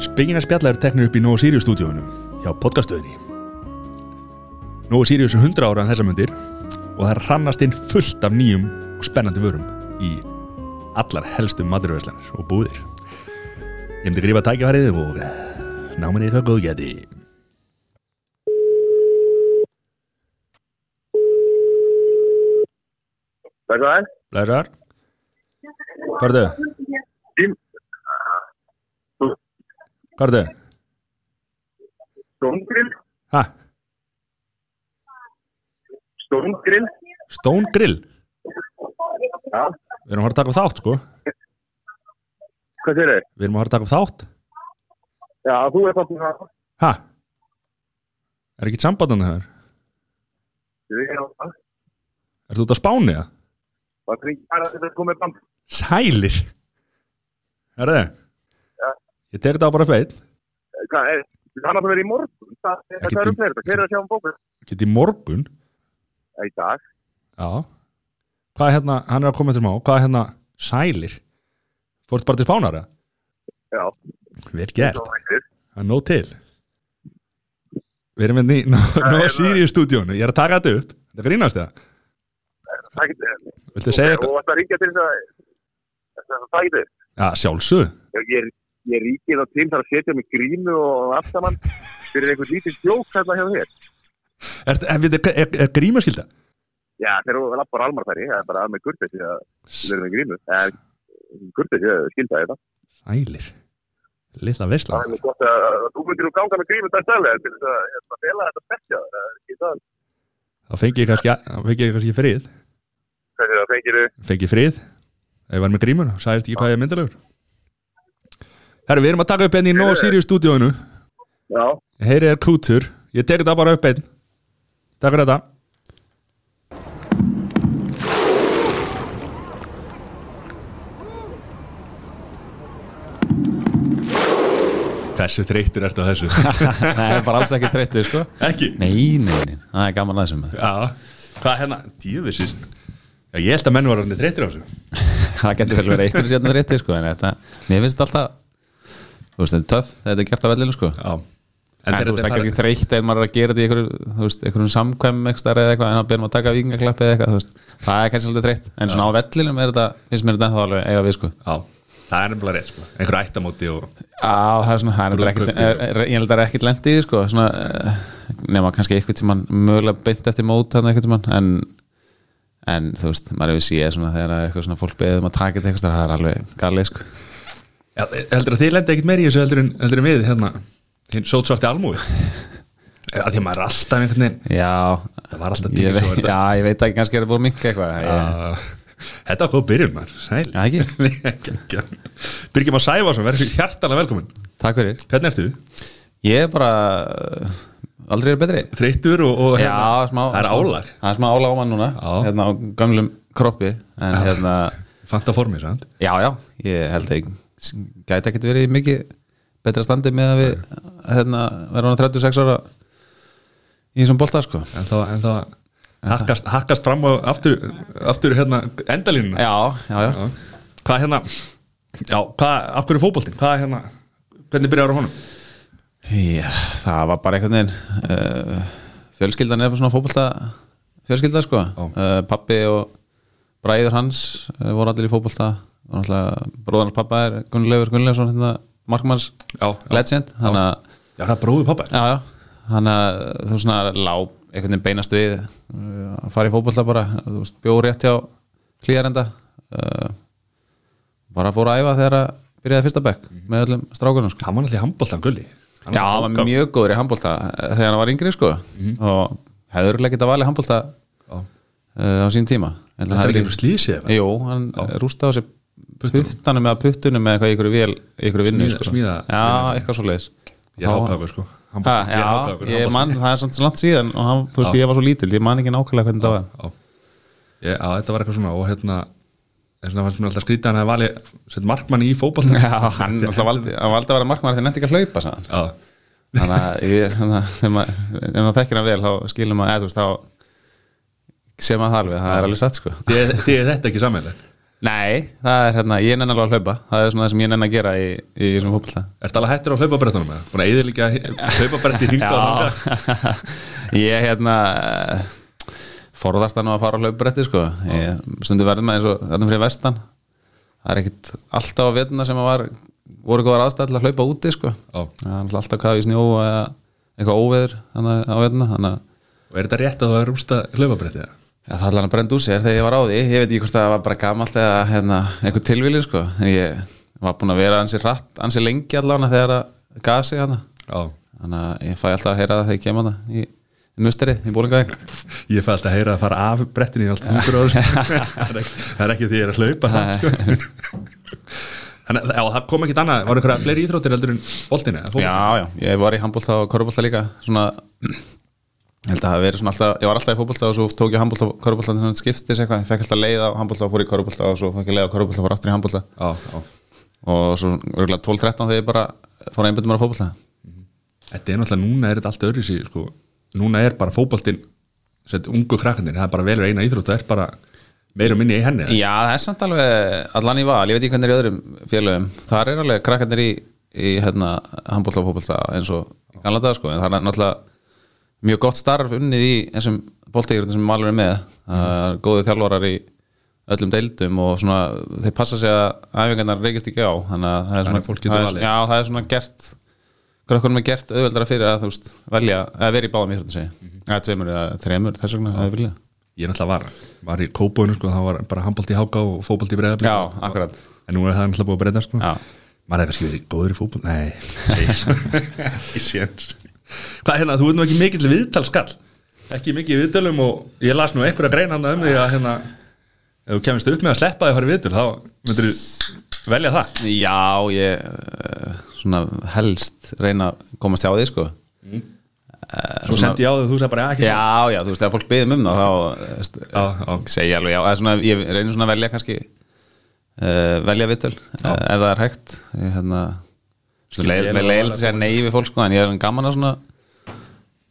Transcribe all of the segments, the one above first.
Spegina spjalla eru teknir upp í Nóa Sirius stúdíóinu hjá podcastöðinni. Nóa Sirius er 100 ára en þessar myndir og það rannast inn fullt af nýjum og spennandi vörum í allar helstu maturverslanir og búðir. Ég myndi grífa tækifærið og ná mér í eitthvað góðgæti. Hvað er það? Blæsar? Hvað er þau? Hvað er þau? Stóngrill? Ha? Stóngrill? Stone Grill? Já, Við erum að fara að taka upp þátt, sko. hvað séu þau? Við erum að fara að taka upp þátt. Já, þú er bara það. Ha? Er ekki sambandandi það? Ég er á það. Er þú út að spáni það? Það er ekki bara þetta komið fram. Sælir Herðu Ja. Ég tek þetta bara upp einn Hvað er, það er að vera í morgun. Það það- Ekki það eru til- fleiri. Hver er að sjá um bókur? Get í morgun Það er í dag. Já Hvað er hérna, hann er að koma eftir smá Hvað er hérna sælir Fórst bara til spánara? Já, Vel gert, svo hættir. það er nóg til Við erum hérna í Nó Sirius stúdíónu Ég er að taka þetta upp Þetta grínast það Það getur. Viltu segja Og eitthvað? það ringja til þess að, það það getur. Já, sjálfsög Ég, ég, ég ríkið þá til þar að setja mig grínu og allt saman fyrir einhvern lítið sjók hérna hjá þér. Er, er, er, er, er grímaskylda? Já, þegar þú lappar almarfæri, það er bara að með kurtið því að við erum í grínu. Kurtið því að skilta þetta. Sælir Lilla veisla Það er nú gott að að þú myndir nú ganga með grímið dag stærlega til þess að hérna, fela þetta spekkja. Það er ekki það. Það fengi ég kannski, þá fengi ég kannski frið Hvernig það fengir þau? fengi frið ef ég var með grímuna, sæðist ekki hvað ég er myndalegur Herru, við erum að taka upp einn í Nóa Sirius stúdíóinu Já, Heyri er kútur, ég tek þetta bara upp einn Takk fyrir þetta Þessu þreyttur ertu á þessu Það er bara alls ekki þreyttur sko Ekki? Nei, nei, nei, það er gaman aðeins um það Já, hvað er hérna? Djöfisins Já, ég held að menn var orðinni þreyttur á þessu Það getur vel verið einhverjum sérna þreyttur sko En þetta, mér finnst alltaf Þú veist, þetta er töff, þegar þetta er gert af vellinu sko Já En, þú veist, það er kannski þreytt ef maður er að gera þetta í einhverjum, þú veist, einhverjum samkvæm ekstar eða eitthvað, en að byrjum að taka vikingaklappi eða eitthvað, þú veist, það er kannski svolítið þreytt en svona á vellinum er þetta, finnst mér þetta þá alveg eiga við, sko. Já, það er nefnilega rétt sko einhver ættamóti og Á, það er svona, það er Brúðkaup, nefnilega ekkert, er- er- ég held að það er ekkert lendið, sko, svona, eh, nema kannski eitthvað tíman, mögulega beint eftir mót hann eitthvað tíman, en, en þú veist, maður hefur síðið svona þegar að eitthvað svona fólk beðið um að taka þetta eitthvað, það er alveg galið, sko. Já, e, heldur að þið lenda ekkert meir í þessu heldur en, heldur en við hérna, hinn sótsvarti almúi að því að maður er alltaf einhvern veginn Já, það var alltaf ég tími svo veit, þetta já, ég veit ekki, kannski er það búin minka eitthvað, ég- að, Þetta var góð byrjun maður, Já, ekki? sæl Byrgjum að sæfa svo, verður hjartalega velkomin Takk fyrir. Hvernig ertu? Ég er bara uh, aldrei verið betri hérna- Þreyttur og, hérna? og Já, smá það er smá- álag Það er smá álag á mann núna Já. Hérna á gömlum kroppi En hérna, Fanta formið, sant? já, já Ég held að ég s- gæti ekkert verið í mikið betra standi með að við hérna, verðum hann 36 ára í þessum bolta, sko En þá, en þá hakkast, hakkast fram og aftur, aftur hérna endalínuna Já, já, já Já. Hvað hérna Já, hvað, af hverju fótboltinn, hvað hérna Hvernig byrjar á honum? Já, það var bara einhvern veginn uh, fjölskyldan er bara svona fótbolta fjölskylda sko uh, pappi og bræður hans uh, voru allir í fótbolta og náttúrulega bróðarnas pappa er Gunnleifur Gunnleifsson hérna, markmanns Já, já. legend þannig að Já, það er bróðu pappa já, já, þannig að þú svona lá einhvern veginn beinast við uh, að fara í fótbolta bara, þú veist, bjóð rétt hjá hlýjarenda uh, bara fór að æfa þegar að byrjaði fyrsta bekk með öllum strákunum sko. Hann var náttúrulega handbóltan gulli Mhm. Hann Já, hann var náttúrulega- mjög góður í handbólta þegar hann var yngri sko Mhm. og hefur leikit að valið handbólta Já. uh, á sín tíma En Þetta það er er ekki einhver slísi eða? Jú, hann rústaði á sér puttanum eða puttunum eða eitthvað í ykkur vel, í ykkur vinnu Smíða- sko. smíða- Já, eitthvað svo leiðis Ég hápaði sko Hann- Já, Ég hápaði ég mann, það er samt svo langt síðan og hann, þú veist, ég var svo lítil, ég man ekki nákvæmlega hvernig það var Já, Ég- já, þetta var eitthvað svona og hérna þess vegna fannst mér alltaf skrítið að hann hefði valið sett markmann í fótboltan Já, hann alltaf valdi, hann valdi að vera markmaður þegar hann ekki að hlaupa sann Já, þannig að ég- þannig að þegar maður- ef maður þekkir hann vel þá skilum maður, eða þú veist, þá sem að það alveg, það er alveg satt sko því er þetta ekki sammeilegt Nei, það er hérna, ég nenni alveg að hlaupa Það er svona það sem ég nenni að gera í, í þessum fótbolta Ertu alveg hættur á hlaupabrettunum eða? Búin að eðilíka hlaupabretti hingað og Já, þangað? ég hérna eh, forðast hann að fara á hlaupbretti sko. ég stundi verðum með eins og þarna fyrir vestan það er ekkit alltaf á vetuna sem að var, voru góðar aðstæð til að hlaupa úti sko. Já. það er náttúrulega alltaf kafi í snjó eða eitthvað óveður þarna á vetuna þannig að Og er þetta rétt að það er rústa hlaupabretti eða? Já, það er alveg að brenda úr sér þegar ég var á því ég veit ekki hvort það var bara gamalt eða hérna, einhver tilvíli sko. En ég var búin að vera ansi hratt, ansi lengi allavega þegar að gasi hana Já. þannig að ég fæ alltaf að heyra það þegar ég kem hana í, í musterið, í bólingavæg Ég fæ alltaf að heyra að fara af brettinu í allt hundur ára Það er ekki- það er ekki því að ég er að hlaupa það, sko. Þannig að já, það kom ekkit annað Var einhverja fleiri íþróttir heldur en boltinu? eða fótbolti? Já, já, ég var í handbólta og korfbólta líka svona, ég held að það hafi verið svona alltaf ég var alltaf í fótbólta og svo tók ég handbólta og korfbólta þannig að skiptis eitthvað, ég fekk alltaf leið á handbólta og fór í korfbólta og svo fekk ég leið á korfbólta og fór aftur í handbólta já, já. og svo örugglega 12-13 þegar ég bara fór að einbjöndum að fótbólta Þetta er náttúrulega, núna er þetta allt öðru sig sko. Núna er bara fótboltinn sett, ungu krakkandinn, það er bara velur eina íþrótt það er bara meira og minni í henni Já, það er samt alveg allan í val, ég veit ekki hvernig er í öðrum félögum þar er alveg krakkarnir í, í hérna, handbólta og fótbolta eins og í gamla dag sko, en það er náttúrulega mjög gott starf unnið í þessum bóltegjurinn sem malur er með uh, góðu þjálfarar í öllum deildum og svona, þeir passa sig að æfingarnar reykist ekki á þannig að það er Þannig svona, að fólk getur það valið. er, já, það er svona gert hvernig er gert auðveldara fyrir að þú veist, velja, að vera í báðum íþróttum segi, Mhm. mm -hmm. að tveimur eða þremur þess vegna, að vilja Ég er náttúrulega var, var í kópóinu sko, það var bara handbolti í háká og fótbolti í breyðabli Já, akkurat. En nú er það náttúrulega búið að breyta sko. Já. Maður hefði kannski verið góður í fótbolt Nei, ekki séns Hvað hérna, þú veit nú ekki mikill viðtalskall Ekki mikið í viðtölum og ég las nú einhverja grein hann um því að hérna Ef þú kemist upp með að sleppa því að fara í viðtöl þá myndir velja það Já, ég eh, svona helst reyna að komast hjá því sko Eh, Mm. Svo svona- sendi ég á því að þú sagði bara "Já, ekki Já, já, þú veist, ef fólk byrðum um það þá eh, veist, Já, já. segi ég alveg já, eða svona, ég reynir svona að velja kannski uh, velja vitul uh, ef það er hægt ég, hérna, Skil, svona, leið, ég er með alveg leiðilegt að segja nei við fólk sko, en ég er gaman að svona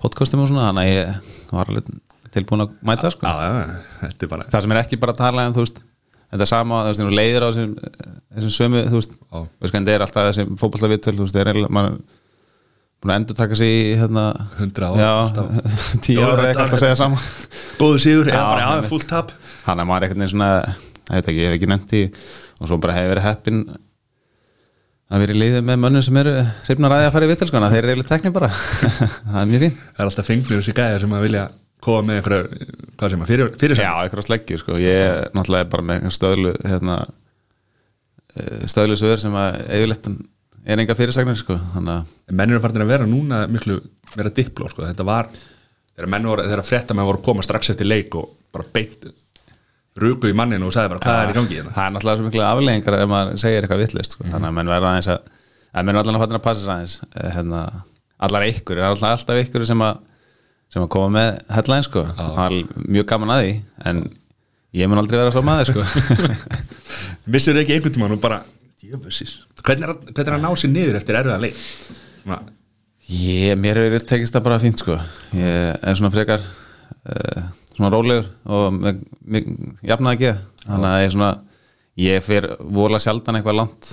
podcastum og svona, þannig að ég var alveg tilbúin að mæta sko. Já, já, já, þetta er bara það sem er ekki bara að tala um þú veist, þetta er sama, þú veist, þú leiðir á þessum, þessum sömu, þú veist Já. þú veist hvernig þetta er alltaf þessi fótballta vittöl þú veist, það er eiginlega, maður er búin að endur taka sig í hérna 100 ár, já, alltaf. tíu Jó, ára eða þetta- eitthvað að segja sama góðu sigur eða Já, bara aðeins einmitt. fullt tap þannig að maður er einhvern veginn svona ég veit ekki, ég hef ekki nefnt í og svo bara hefur verið heppin að vera í liðið með mönnum sem eru hrifnar aðeins að fara í vittöl, sko, þannig að þeir eru eiginlega teknir bara það er mjög fín Það er alltaf fengnir þessi gæðir sem að vilja koma með einhverja, hvað sem að fyrir, fyrir Já, eitthvað sleggju sko Ég náttúrulega er bara með einhver stöðlu hérna, eh, stöðlu sögur sem að yfirleitt er enga fyrirsagnir sko þannig að Menn eru farin að vera núna miklu vera dipló, sko, þetta var þegar menn voru, þegar frétta menn voru að koma strax eftir leik og bara beint ruku í manninu og sagði bara hvað er í gangi hérna það er náttúrulega svo miklu afleggingar ef maður segir eitthvað vittlist sko. þannig að menn verða aðeins að að menn er allan að fatna að passa sig aðeins eh, hérna, allar ykkur, það er alltaf, alltaf ykkur sem að sem að koma með headline sko það er mjög gaman að því en ég mun aldrei vera svo maður sko Missir þau ekki einhvern tímann og bara jöfnveðsís, hvernig er, að- hvernig er að ná sér niður eftir erfiða leik Svona, Ég, mér hefur tekist það bara fínt sko Ég er svona frekar uh, svona rólegur og með- mig- jafnaði ekki þannig að ég svona ég fer vola sjaldan eitthvað langt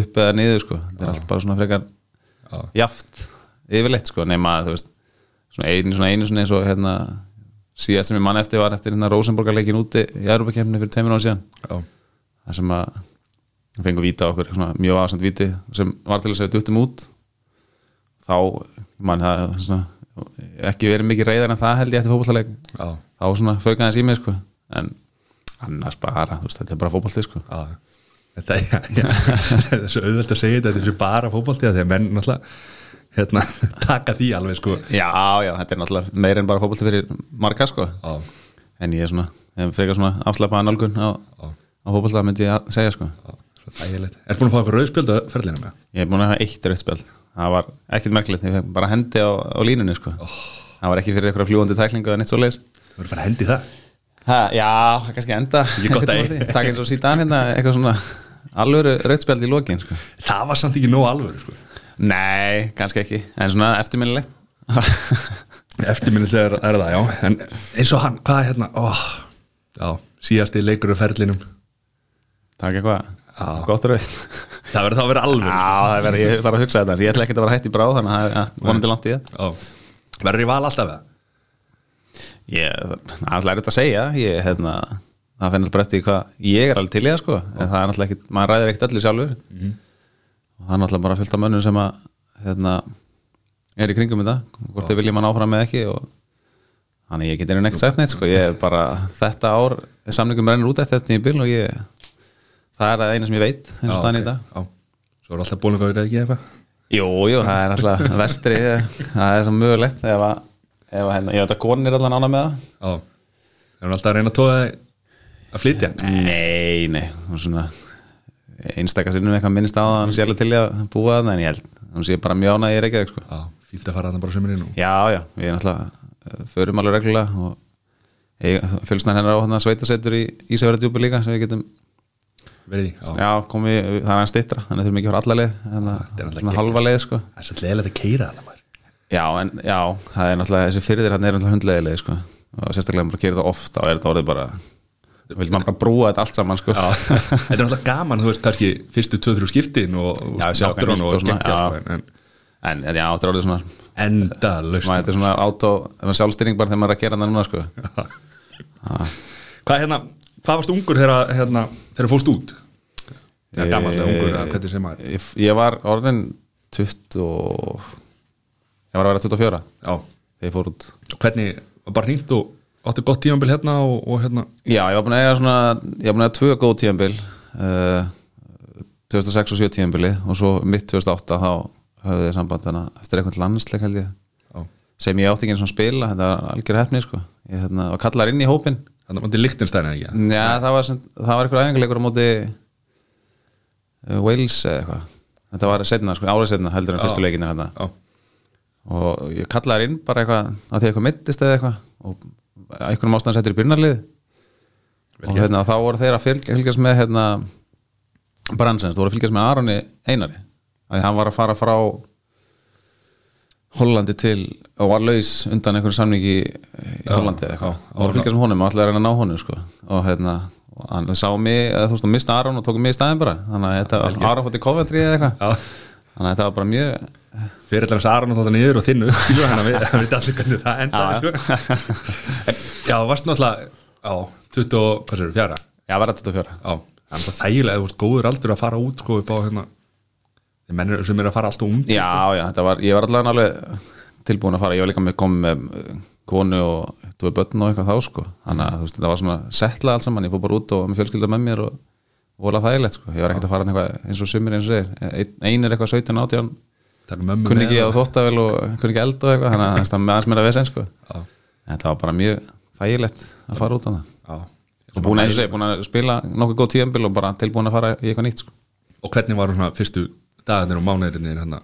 upp eða niður sko það er allt bara svona frekar Já. jaft yfirleitt sko nema að þú veist svona einu svona einu svona eins og hérna síðast sem ég mann eftir var eftir hérna Rosenborgarleikin úti í Europakefni fyrir tveimur án síðan já, það sem að fengum víta okkur, svona, mjög aðsend víti sem var til þess að við duttum út þá, mann, það svona, ekki verið mikið reyðar en það held ég eftir fótballtaleg já, þá svona faukaði hans í mig, sko en annars bara, þú veist, þetta er bara fótballtið, sko já Þetta já, já. Það er svo auðvelt að segja þetta þetta er svo bara fótbolti að því að menn náttúrulega hérna, taka því alveg sko já, já, þetta er náttúrulega meira en bara fótballtið fyrir marga, sko Já, en ég er svona, ef frekar svona afslapaða nálgun á, Já. á fótballtað myndi ég að segja, sko já, svo þægilegt Er búin að fá eitthvað rauðspjöld að ferðlina með? ég er búin að hafa eitt rauðspjál það var ekkert merkilegt, ég fekk bara hendi á, á línunni, sko það var ekki fyrir eitthvað fljúandi tæklingu eða neitt svo Þú verður að fara að hendi í það Ha, já, kannski enda Ekki gott að- Takk eins og síðan hérna eitthvað svona alvöru rauðspjald í lokin sko. Það var samt ekki nóg alvöru sko. Nei, kannski ekki En svona eftirminnilegt Eftirminnilega er, er það, já En eins og hann, hvað er hérna? Ó, já, síðasti leikur á ferðlinum Takk eitthvað, Já. gott rauð Það verður þá að vera alveg Já, það verður, ég þarf að hugsa þetta Ég ætla ekkert að vera hætt í bráð, þannig að ja, vonandi langt í það Verður í val alltaf eða? Ég, það er alltaf erfitt að segja ég, hérna, það fennir bara eftir því hvað ég er alveg til í það sko, en það er alltaf ekkit maður ræðir ekkert öllu sjálfur og það er alltaf bara fullt af mönnum sem að hérna, er í kringum þetta hvort þau vilja mann áfram með ekki og þannig ég get einu neitt sagt neitt sko, ég er bara þetta ár, samningum rennur út eftir þetta í bíl og ég það er það eina sem ég veit eins og staðan í dag Já Svo er alltaf búin að vera ekki eitthvað Jú, jú, það er alltaf vestri það er svo mögulegt ef að, ef að hérna, ég veit að konir allan ána með það Já Er hún alltaf að reyna að tóða að flytja? Nei, nei, hún svona einstakar sinnum eitthvað minnst á það hann sé alveg til í að búa það en ég held hún sé bara mjána í Reykjavík sko. Já, fínt að fara þarna bara sömurinn og Já, já, við náttúrulega eh, förum alveg reglulega og fjölsnar hennar á hann að sveitasetur í Ísafjörðardjúpi líka sem við getum verið í Já, Já, komum við, það er hann stittra þannig þurfum ekki að fara alla leið þetta er þannig náttúrulega að svona geggjað. halva leið sko. Það er svolítið leðilegt að keira þarna maður Já, en já, það er náttúrulega þessi fyrir hann er náttúrulega hundleiðileg sko. og sérstaklega maður gerir það ofta og er þetta orðið bara vil maður bara brúa þetta allt saman sko. Þetta er alltaf gaman, þú veist, kannski fyrstu 2-3 skiptin og Já, sjá hvað náttúran nýtt og sko, og svona, geggja já. sko, en- en en en já, þetta er orðið svona enda löst maður þetta er svona átó, það var sjálfstýring bara þegar maður er að gera hana núna sko. Hvað hérna, hvað varst ungur þegar hérna, þegar fórst út? Það er gammal, Eh, ungur, eða hvernig sem maður ég, ég var orðin 20 og... ég var að vera 24 Já, þegar ég fór út og hvernig, var bara hýnt og átti gott tímanbíl hérna og, og hérna já, ég var búin að eiga svona ég var búin að eiga tvö góð tíðanbil uh, 2006 og 7 tíðanbili og svo mitt 2008 þá höfðu þið samband hana, eftir eitthvað landsleik held ég Já, sem ég átti ekki eins og spila, þetta var algjör hefni sko. ég hérna, var kallar inn í hópin þannig að maður til Lichtenstein hérna eða ekki Já, það var, sem, það var eitthvað æfingarleikur á móti uh, Wales eða eitthvað Þetta var setna, sko, árið setna heldur en fyrstu leikinu hérna Já, og ég kallaði þær inn bara eitthvað að því eitthvað meittist eða eitthvað og einhvernum ástæðan settur í byrnarlið og hérna, þá voru þeir að fylg, fylgjast með hérna, Bransens, þú voru að fylgjast með Aroni Einari að hann var að fara frá Hollandi til og var laus undan einhverjum samningi í Hollandi eða eitthvað já, og var að fylgjast með honum og alltaf er hann að ná honum sko. og hérna, og hann sá mig eða, þú veist, hann mista Aron og tók mig í staðin bara þannig að þetta Aron fótt í Coventry eða eitthvað Já. þannig að þetta var bara mjög fyrir allar hans Aron og þáttan niður og þinnu skilur hann að við, hann veit allir hvernig það endaði sko. En, já, þú varst náttúrulega á 20, og- hvað sér, fjara Já, verða 24 já, það er náttúrulega þægilega, þú vart góður aldur að fara út sko upp á hérna þeir mennir sem er að fara alltaf ung Já, já, þetta var, ég var allavega alveg tilbúin að fara, ég var líka með komið með eh, konu og tvö börn og eitthvað þá sko, þannig að þú veist, þetta var svona settlað allt saman, ég fór bara út og var með fjölskylda með mér og vola þægilegt sko, ég var ekkert að fara þarna eitthvað eins og sumir eins og þeir, Eh, einir eitthvað 17, 18 Taka mömmu kunni með ekki á og- þóttavel og kunni ekki eld og eitthvað, þannig að það með aðeins meira vesen sko, Já. en þetta var bara mjög þægilegt að fara út á það Já. og búin að, eins og segja, búin að spila nokkuð góð tíðanbíl og bara tilbúin að fara í eitthvað nýtt sko. og hvernig var svona fyrstu dagarnir og mánuðirnir hérna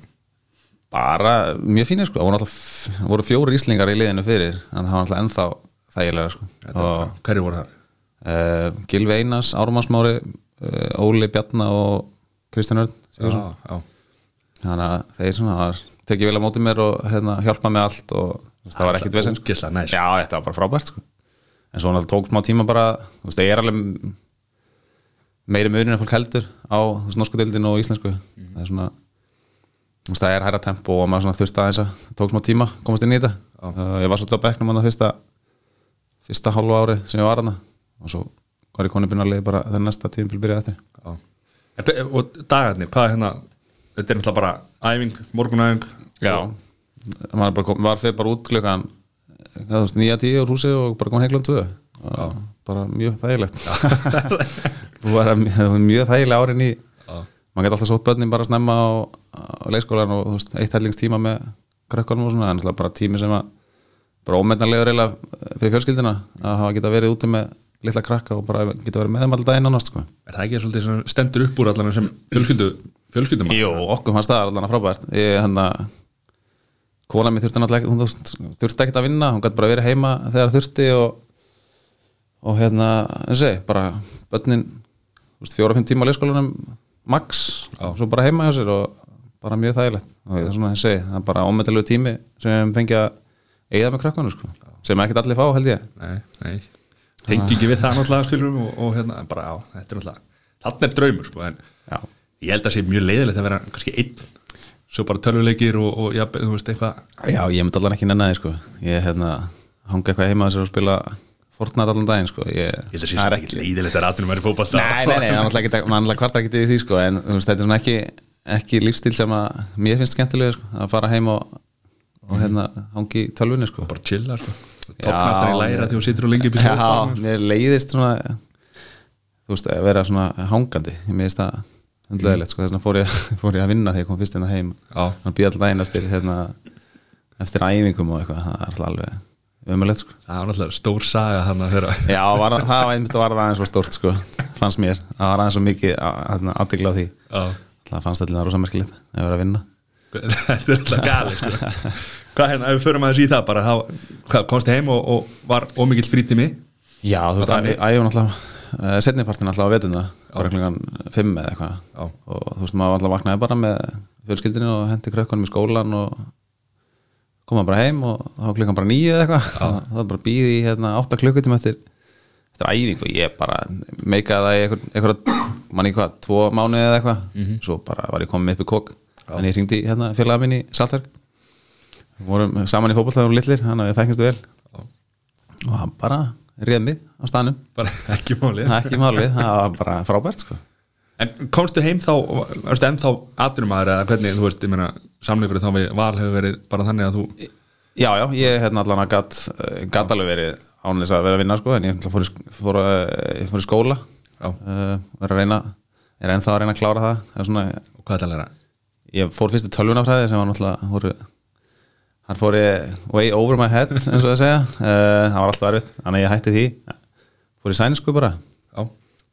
bara mjög fínir sko, það voru, alltaf, voru fjóri íslingar í liðinu fyrir en það var alltaf ennþá þægilega sko. og hverju voru það? uh, Gilvi Einars, Ármannsmári uh, Óli Bjarna og Kristján Örn Já, já, þannig að þeir svona það var, tekið vel á móti mér og hérna, hjálpa með allt og þú veist, það var ekkit vesinn sko. ógeðslega næs. já, þetta var bara frábært sko. en svo náttúrulega tók smá tíma bara þú veist, ég er alveg meiri munin en fólk heldur á þú veist, norsku deildinu og íslensku Mhm. það er svona þú veist, það er hæra tempo og maður svona þurfti aðeins að tók smá tíma, komast inn í þetta uh, ég var svolítið á bekknum hann fyrsta fyrsta hálfu ári sem ég var hann og svo var ég konu byrna að leiði bara þegar næsta tíðinbíl byrjaði eftir já. En hver- og dagarnir, hvað er hérna þetta er náttúrulega bara æfing, morgunæfing Já maður bara kom, var fyrir bara út klukkan eða þú veist, nýja tíu úr húsi og bara kom heiklan tvö Og bara mjög þægilegt þú var að- það var mjög þægileg árin í maður gæti alltaf sótt börnin bara snemma á, á leikskólan og þú veist, eitt hellingstíma með krökkunum og svona, en alltaf bara tími sem að bara ómetanlega reyla fyrir fjölskyldina að hafa geta verið úti með litla krakka og bara geta verið með þeim alltaf einn annars sko. er það ekki svolítið sem stendur upp úr allan sem fjölskyldu, fjölskyldum Jú, okkur fannst það allan að frábært ég, hana, kona mér þurfti náttúrulega ekki- hún þurfti- þurfti ekkert að vinna, hún gæti bara verið heima þegar þurfti og, og hérna, eins og ég, bara börnin, þú veist, fjóra-fimm tíma á leikskólanum, max, og svo bara heima hjá sér og bara mjög þægilegt og það er svona, eins og ég, það er bara ómetalegu tími sem við höfum fengið að eigða með krakkanu sko. sem ekkert allir fá, held ég nei, nei tengi ekki við það náttúrulega skilurum og, og hérna, en bara já, þetta er náttúrulega Þannig er draumur sko, en já, ég held að sé mjög leiðilegt að vera kannski einn svo bara tölvuleikir og, og já, þú veist eitthvað já ég myndi allan ekki nenni það sko. ég hérna, hanga eitthvað heima þessar og spila Fortnite allan daginn sko. ég, Ég held að sé sem ekki leiðilegt að ratunum er í fótball Nei, nei, nei, það er náttúrulega ekkert- maður náttúrulega kvartar ekki við því sko, en þú veist, þetta er svona ekki, ekki lífstíl sem að mér finnst skemmtilega sko, að fara heim og, og hérna hangi í tölvunni sko. Bara chilla sko Topnartan í læra þegar þú situr og lengi upp í Já, sofanum. mér leiðist svona þú veist, að vera svona hangandi mér finnst það hundlegilegt sko, þess vegna fór ég, fór ég að vinna þegar ég kom fyrst inn á heim Já. og býða alltaf einn eftir hérna, eftir æfingum og eitthvað, það er alltaf alveg umulegt sko. Það var náttúrulega stór saga hann að þeirra Já, var, það var einmitt að var aðeins svo stórt sko, fannst mér, það var aðeins svo mikið að- hérna, aðdegla á því Já. Það fannst allir það rosa merkilegt að vera að vinna Þetta er alltaf gali sko. Hvað hérna, ef við förum aðeins í það bara, þá, hvað, komst heim og, og var ómikill frítími Já, þú veist, Þannig- æfum alltaf setnipartin alltaf á vetuna bara klingan 5 eða Já. eitthvað og þú veist, maður alltaf vaknaði bara með fjölskyldinu og hendi krökkunum í skólan og koma bara heim og þá var klingan bara 9 eða eitthvað og það var bara býði í hérna 8 klukkutum eftir eftir æfingu, ég bara meikaði það í einhver- einhverja, manni hvað, tvo mánuði eða eitthvað, svo bara var ég komið upp í kók, en ég hringdi í, hérna félaga minn í Saltverk við vorum saman í fótbolltaðum litlir, hann að við þekkjumstu vel og hann bara réð mig á stanum bara ekki máli það er ekki málið, það var bara frábært sko. En komstu heim þá, varstu ennþá atvinnumæður eða hvernig, þú veist, ég meina samleikurinn þá við val hefur verið bara þannig að þú já, já, ég hérna allan að gatt gatt alveg verið án þess að vera að vinna sko, en ég náttúrulega fór, í sk- fór, eh, ég fór í skóla Já. uh, var að reyna er ennþá að reyna að klára það, það er svona, og hvað það er að ég fór fyrst í tölvunafræði sem var náttúrulega voru, hann fór ég way over my head eins og það segja, uh, það var alltaf erfitt þannig að ég hætti því, fór í sænsku bara Já,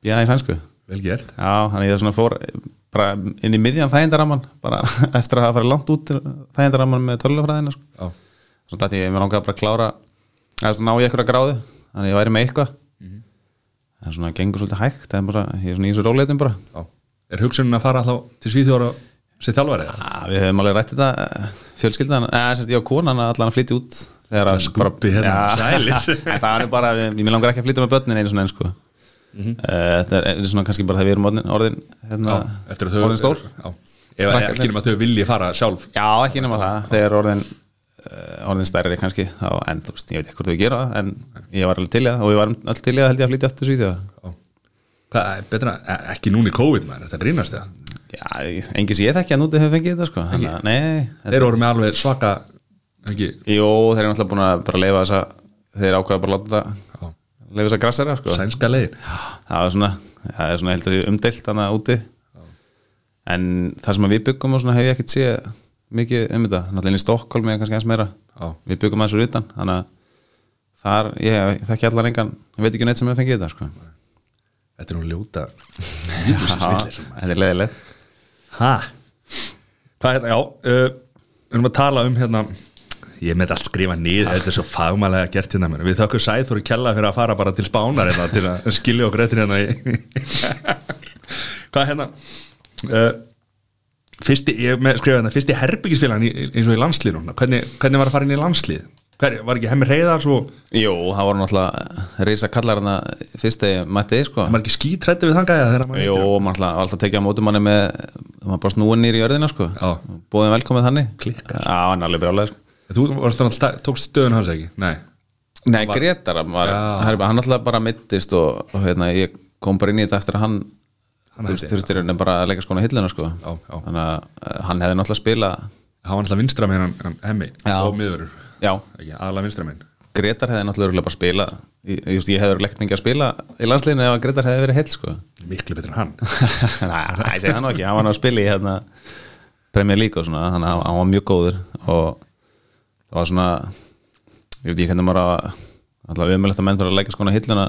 býða í sænsku vel gert Já, þannig ég svona fór bara inn í miðjan þægindaraman bara eftir að hafa farið langt út þægindaraman með tölunafræðina sko. Já, svo dætti ég, mér langaði bara að klára eða svona ná ég eitthvað gráðu þannig ég væri með eitthvað Mhm. en svona gengur svolítið hægt en bara, ég er svona í þessu róleitum bara já Er hugsunin að fara þá til Svíþjóra og sér þjálfari eða? ja, Ah, við höfum alveg rætt þetta eh, fjölskyldan, eða semst ég og konan að allan að flytja út þegar að skúbbi hérna, sælir. En það er bara, ég mér langar ekki að flytja með börnin einu svona eins sko Eh, þetta er, er svona kannski bara það við erum orðin, orðin hérna, Mhm. Já, eftir að þau orðin stór Já, ef Krakkarnir. ekki nema að þau vilji fara sjálf Já, ekki nema það, þegar orðin eh, orðin stærri kannski þá, en þú veist, ég veit ekki hvort þau gera það en ég var alveg til í það og við varum allir til í það held ég að flytja aftur svíðu Já. Hvað, er betra, e- ekki núna í COVID maður, þetta grínast það Já, engi sem ég þekki að núti hefur fengið þetta sko Þannig, að- Nei, þetta, Þeir voru með alveg svaka ekki, jú, þeir eru náttúrulega búin að bara leifa þess að þeir ákveða bara að láta þetta já, leifa þess að grassera sko sænska leiðin það er svona, það er svona held að sé umdelt þannig úti en það sem að við byggum og svona hef ég ekkert séð mikið um þetta, náttúrulega inn í Stokkólmi er kannski eins meira, Já. við byggum aðeins úr utan þannig að þar, ég þekki allar engan, ég veit ekki neitt sem hefur fengið þetta sko. Þetta er nú ljóta Já, þetta er leiðilegt Hæ? Hvað hérna, já uh, Við erum að tala um hérna Ég er með þetta allt skrifa niður, þetta er svo fagmælega gert hérna mér. Við þökkum Sæþóri Kjalla fyrir að fara bara til Spánar hérna, til að skilja okkur eftir hérna í... Hvað hérna uh, Fyrsti, ég með, skrifa hérna Fyrsti herbyggisfélagan í, eins og í landslið núna hvernig, hvernig var að fara inn í landslið? Hver, var ekki hemmi reyðar svo Jú, það voru náttúrulega reysa kallar hana fyrst þegar ég mætti sko. var ekki skítrætti við þangað eða þegar maður Jú, maður alltaf, alltaf tekið á mótum manni með maður bara snúin nýri í örðina sko. Já. bóðum velkomið þannig Klikkar. Já, hann er alveg brjálega sko. Þú varst þannig að tókst stöðun hans ekki? Nei Nei, Gretar hann var, Já. herri, hann alltaf bara mittist og, og hérna, ég kom bara inn í þetta eftir að hann, Hann þú veist, hætti, þurftir henni bara að leggja skona hilluna sko Já, já. þannig að eh, hann hefði náttúrulega spila Það var alltaf vinstra með hann hemmi Já. og miðurur, já, ekki aðalega vinstra með Gretar hefði náttúrulega örugglega bara spila ég, ég, ég hefði legt mikið að spila í landsliðinu ef að Gretar hefði verið heill sko miklu betur en hann Nei, nei, ég segi það nú ekki, hann var nú að spila í hérna, Premier League og svona þannig að hann var mjög góður og það var svona ég veit ekki hvernig maður á að alltaf umjöldast að menn fyrir að leggja skona hilluna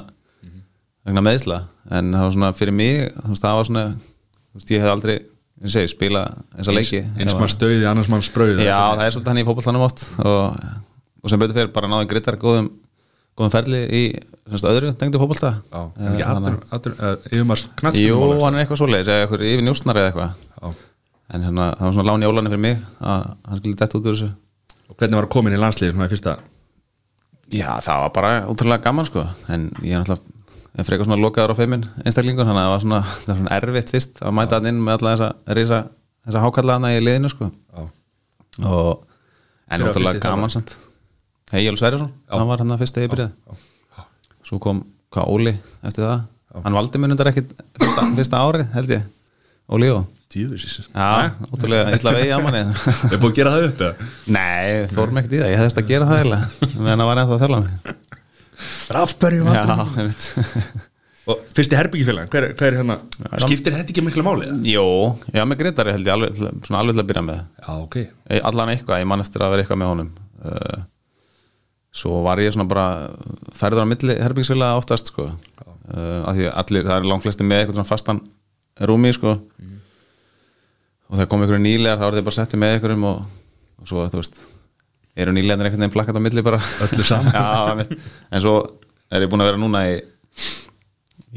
vegna meðsla, en það var svona fyrir mig, þú veist, það var svona þú veist, ég hef aldrei, ég segi, spila eins að leiki eins mann stöði, annars mann spröði Já, það er svolítið hann í fótballtanum oft og, og sem betur fyrir bara náði grittar góðum, góðum ferli í semst, öðru tengdu fótballta Já, en ekki atur, atur, uh, yfirmars Jú, knallstum hann er eitthvað svoleiðis, eða eitthvað yfir njústnar eða eitthvað en hérna, það var svona lán í ólanum fyrir mig að hann skulle detta út úr þessu og hvernig var að koma inn í landsliðið svona í fyrsta Já, það var bara útrúlega gaman sko en ég náttúrulega en frekar svona lokaður á feimin einstaklingur þannig að það var svona, það var svona erfitt fyrst að mæta hann inn með alla þessa risa, þessa hákallaðana í liðinu sko Já. og en Hver var náttúrulega fyrsti þjálfari? gaman samt Egil Sverjason, hann var hérna hann að fyrst eða byrjað svo kom hvað Óli eftir það, hann valdi mér undar ekkit fyrsta, fyrsta ári held ég Óli og Tíðusis Já, ótrúlega illa vegið að manni Er búið að gera það upp eða? Nei, við fórum ekkert í það, ég hefðist að gera það eiginlega meðan að var ennþá að þjálfa mig Rafberg Já, einmitt Og fyrsti herbyggifélagan, hver, hver er hérna Skiptir þetta ekki miklu máli? eða? Jó, já með Gretari held ég alveg, til- svona alveg til að byrja með Já, ok Eh, Allan eitthvað, ég man eftir að vera eitthvað með honum Eh, Svo var ég svona bara færður á milli herbyggsvila oftast sko uh, að því að allir, það er langflesti með eitthvað svona fastan rúmi sko Mhm. og það kom einhverju nýlegar, þá voru þeir bara settið með einhverjum og, og svo, þú veist eru nýlegarnir einhvern veginn flakkat á milli bara Öllu saman. Já, einmitt. en svo er ég búin að vera núna í,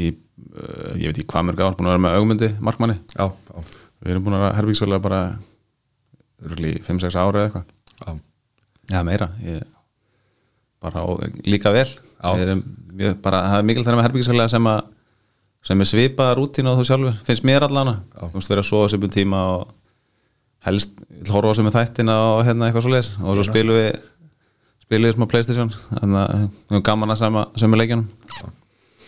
í uh, ég veit ekki hvað mörg ár, búin að vera með augmyndi markmanni Já, já, Við erum búin að herbyggsvöla bara örgli 5-6 ára eða eitthvað já Já, meira ég, bara og, líka vel Já. Við erum, mjög, bara, það er mikil þar með herbyggisfélaga sem að sem er svipaða rútínu á þú sjálfur finnst mér allana, Já. þú veist vera að sofa svipum tíma og helst vill horfa á sem er þættina og hérna eitthvað svo leis og svo spilum við spilum við smá Playstation þannig að við erum gaman að sama, sömu leikjunum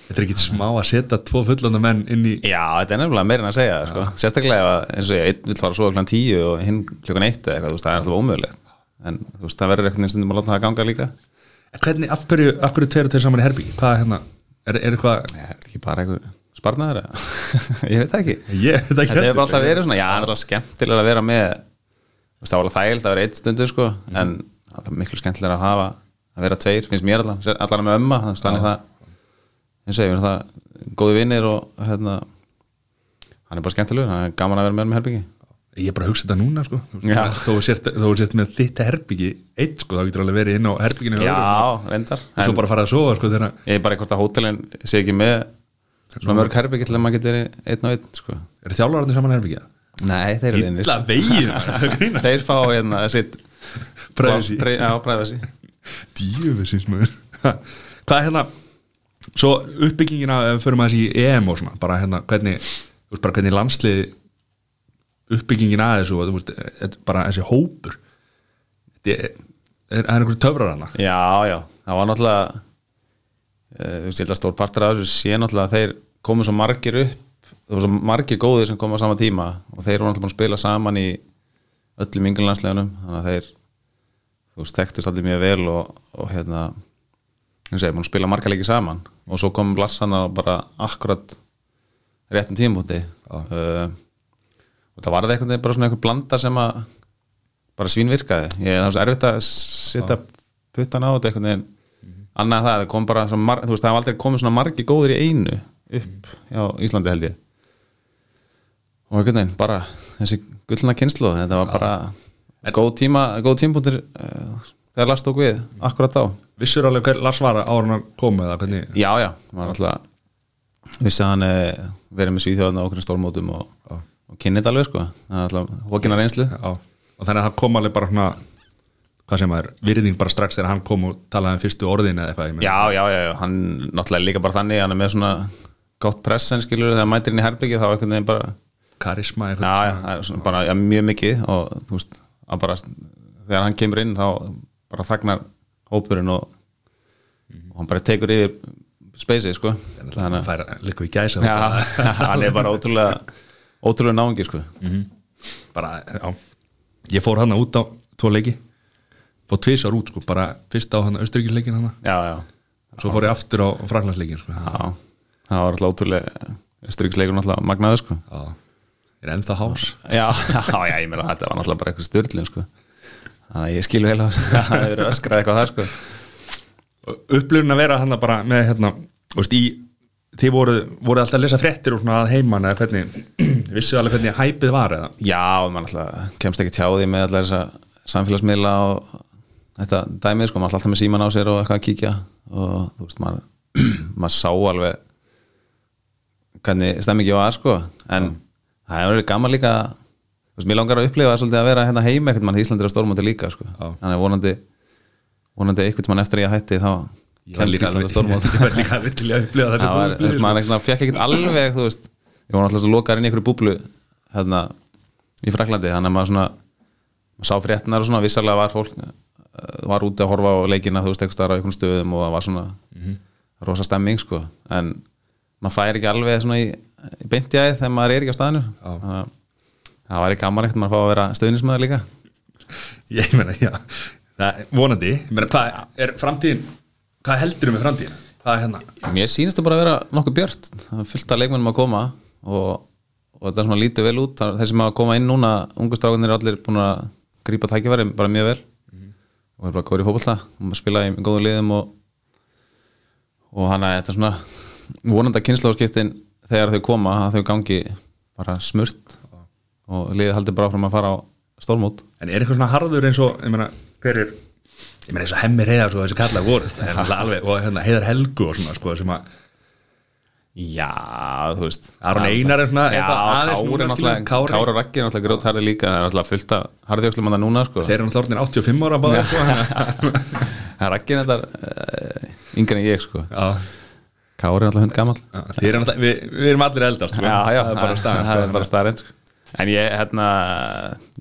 Þetta er ekki smá að setja tvo fullanda menn inn í Já, þetta er nefnilega meira en að segja sko. sérstaklega ef að, eins og ég, einn vill fara að sofa klokkan tíu og hinn klokkan eitt eða eitthvað, þú veist, það er alltaf ómögulegt en þú veist, það verður eitthvað stundum að láta það ganga líka Hvernig, af hverju, af hverju tveir og tveir saman í herbyggi? Hvað er hérna? Er, er eitthvað Nei, er þetta ekki bara einhver sparnaður eða? ég veit það ekki Ég, þetta þetta hefur bara alltaf verið svona, já, það er alltaf skemmtilega að vera með þú veist, það var alveg þægild að vera eitt stundu sko, en það er miklu skemmtilega að hafa að vera tveir, finnst mér allan sér- allan með ömma, þannig að það eins og ég finnst það góði vinnir og hérna hann er bara skemmtilegur, það er gaman að vera með honum í herbyggi Ég er bara að hugsa þetta núna sko Þú veist, Já. Þó þú sért, þó þú sért með þitt herbyggi Eitt sko, þá getur alveg verið inn á herbygginu hjá já, öðrum reyndar og Svo en bara að fara að sofa sko þegar ég er bara hvort að hótelin sé ekki með svona mörg herbyggi til að maður getur einn og einn sko. Er þjálfararnir saman í herbyggja? nei, þeir eru vinnir Illa vegið maður. þeir fá hérna sitt Privacy. Pri- já, privacy Djöfisins maður Hvað er hérna Svo uppbyggingina ef við förum aðeins í EM og svona bara hérna hvernig þú veist bara hvernig landslið uppbyggingin aðeins og þú veist þetta er bara þessi hópur Þetta er, er, er einhverju töfrar hana já, já, það var náttúrulega eh, þú veist, ég held að stór partur af þessu sé náttúrulega að þeir komu svo margir upp það var svo margir góðir sem komu á sama tíma og þeir voru náttúrulega búin að spila saman í öllum ynglinlandslegunum þannig að þeir, þú veist, þekktust allir mjög vel og, og hérna þú veist, búin að spila marga leiki saman og svo kom Lassana bara akkurat réttum tímúti uh, og það varði einhvern veginn bara svona einhver blanda sem að bara svínvirkaði ég það var svo erfitt að setja puttan á þetta einhvern veginn annað en það, það kom bara svo mar, þú veist, það hafa aldrei komið svona margi góður í einu upp á Íslandi held ég og einhvern veginn bara þessi gullna kynslu þetta var bara góð tíma góð tímpúntur uh, þegar last okk við, akkurat þá Vissur alveg hver Lars var ára hann kom eða hvernig Já, já, maður alltaf vissi að hann eh, verið með svíþjóðan á okkur stórmótum og, og kynni þetta alveg sko, það er alltaf hókina reynslu Já, og þannig að það kom alveg bara svona hvað sem maður, virðing bara strax þegar hann kom og talaði um fyrstu orðin eða eitthvað ég meina. Já, já, já, já, hann náttúrulega er líka bara þannig hann er með svona gott pressan skilur þegar hann mætir inn í herbyggið þá einhvern veginn bara karisma eitthvað já, já, það er svona bara já, mjög mikið og þú veist, að bara þegar hann kemur inn þá bara þagnar hópurinn og, og hann bara tekur yfir speysið sko þannig að færa líka í gæsa Já, hann er bara ótrúlega ótrúlega náungi sko bara, já ég fór hana út á tvo leiki fór tvisar út, sko, bara fyrst á hana austuríkisleikin hana, Já, já svo fór ég aftur á fraklandsleikin, sko, já, Já, það var alltaf ótrúlega stryksleikur náttúrulega magnaður sko já ég er ennþá hás, Já, já, já, ég meina þetta var náttúrulega bara eitthvað styrlun sko Þannig að ég skilu heila það hefur verið öskrað eitthvað þar sko upplifun að vera hana bara með, hérna, þú veist, í þið voru, voru alltaf að lesa fréttir og svona að heiman eða hvernig, vissuð alveg hvernig hæpið var eða, Já, maður alltaf kemst ekki tjá því með allar þessa samfélagsmiðla og þetta dæmið sko, maður alltaf með síman á sér og eitthvað að kíkja og þú veist, maður, maður sá alveg hvernig stemmingi var sko en það hefur verið gaman líka þú veist, mér langar að upplifa svolítið að vera hérna heima ekkert mann Íslandir á stórmóti líka sko Já. þannig að vonandi, vonandi einhvern mann eftir að ég hætti þá Ég var líka Kennsla alveg alveg stórmót. Ég var líka alveg til í að upplifa það var, þú veist, þessi maður ekkert fekk ekkert alveg þú veist, ég var náttúrulega svo lokaður inn í einhverju búblu hérna, í Fraklandi þannig að maður svona maður sá fréttnar og svona, vissalega var fólk eh, var úti að horfa á leikina, þú veist, ekki staðar á einhvern stöðum og það var svona rosa stemming, sko, en maður fær ekki alveg svona í, í beint í aðeð þegar maður er ekki á staðinu þannig að það væri gaman ekkert maður fá að vera stöðnismæður líka Ég meina, já Það er vonandi Ég meina, hvað er framtíðin Hvað heldur með framtíðin? Hvað er hérna? Mér sýnist það bara að vera nokkuð björt það er fullt af leikmennum að koma og, og þetta er svona lítið vel út Það er- þeir sem að koma inn núna, ungu strákunir er allir búin að grípa tækifæri bara mjög vel og er bara góður í fótbolta og maður spila í góðu liðum og, og hann að þetta er svona vonandi að kynnslóðskiptin þegar þau koma að þau gangi bara smurt og liðið haldi bara áfram að fara á stórmót En er eitthvað svona harður eins og Ég meina, hver er Ég meina, eins og hemmi reyðar og þessi kallar voru Það er náttúrulega alveg Og hérna, heiðar helgu og svona sko, sem að Já, þú veist Aron Já, Einar er svona Já, eitthvað aðeins núna, skilur, Kári er náttúrulega Kári. Kári og Raggi er náttúrulega grjótharði líka Það er náttúrulega fullt af harðjókslum hann núna sko. Þeir eru náttúrulega orðnir 85 ára báðir, sko, þannig að- Það er Raggi er náttúrulega uh, yngri en ég sko. Já, Kári er náttúrulega hund gamall já, þeir eru náttúrulega- Við við erum allir eldast sko. Það er bara staðan Það sko, er bara staðan sko. En ég, hérna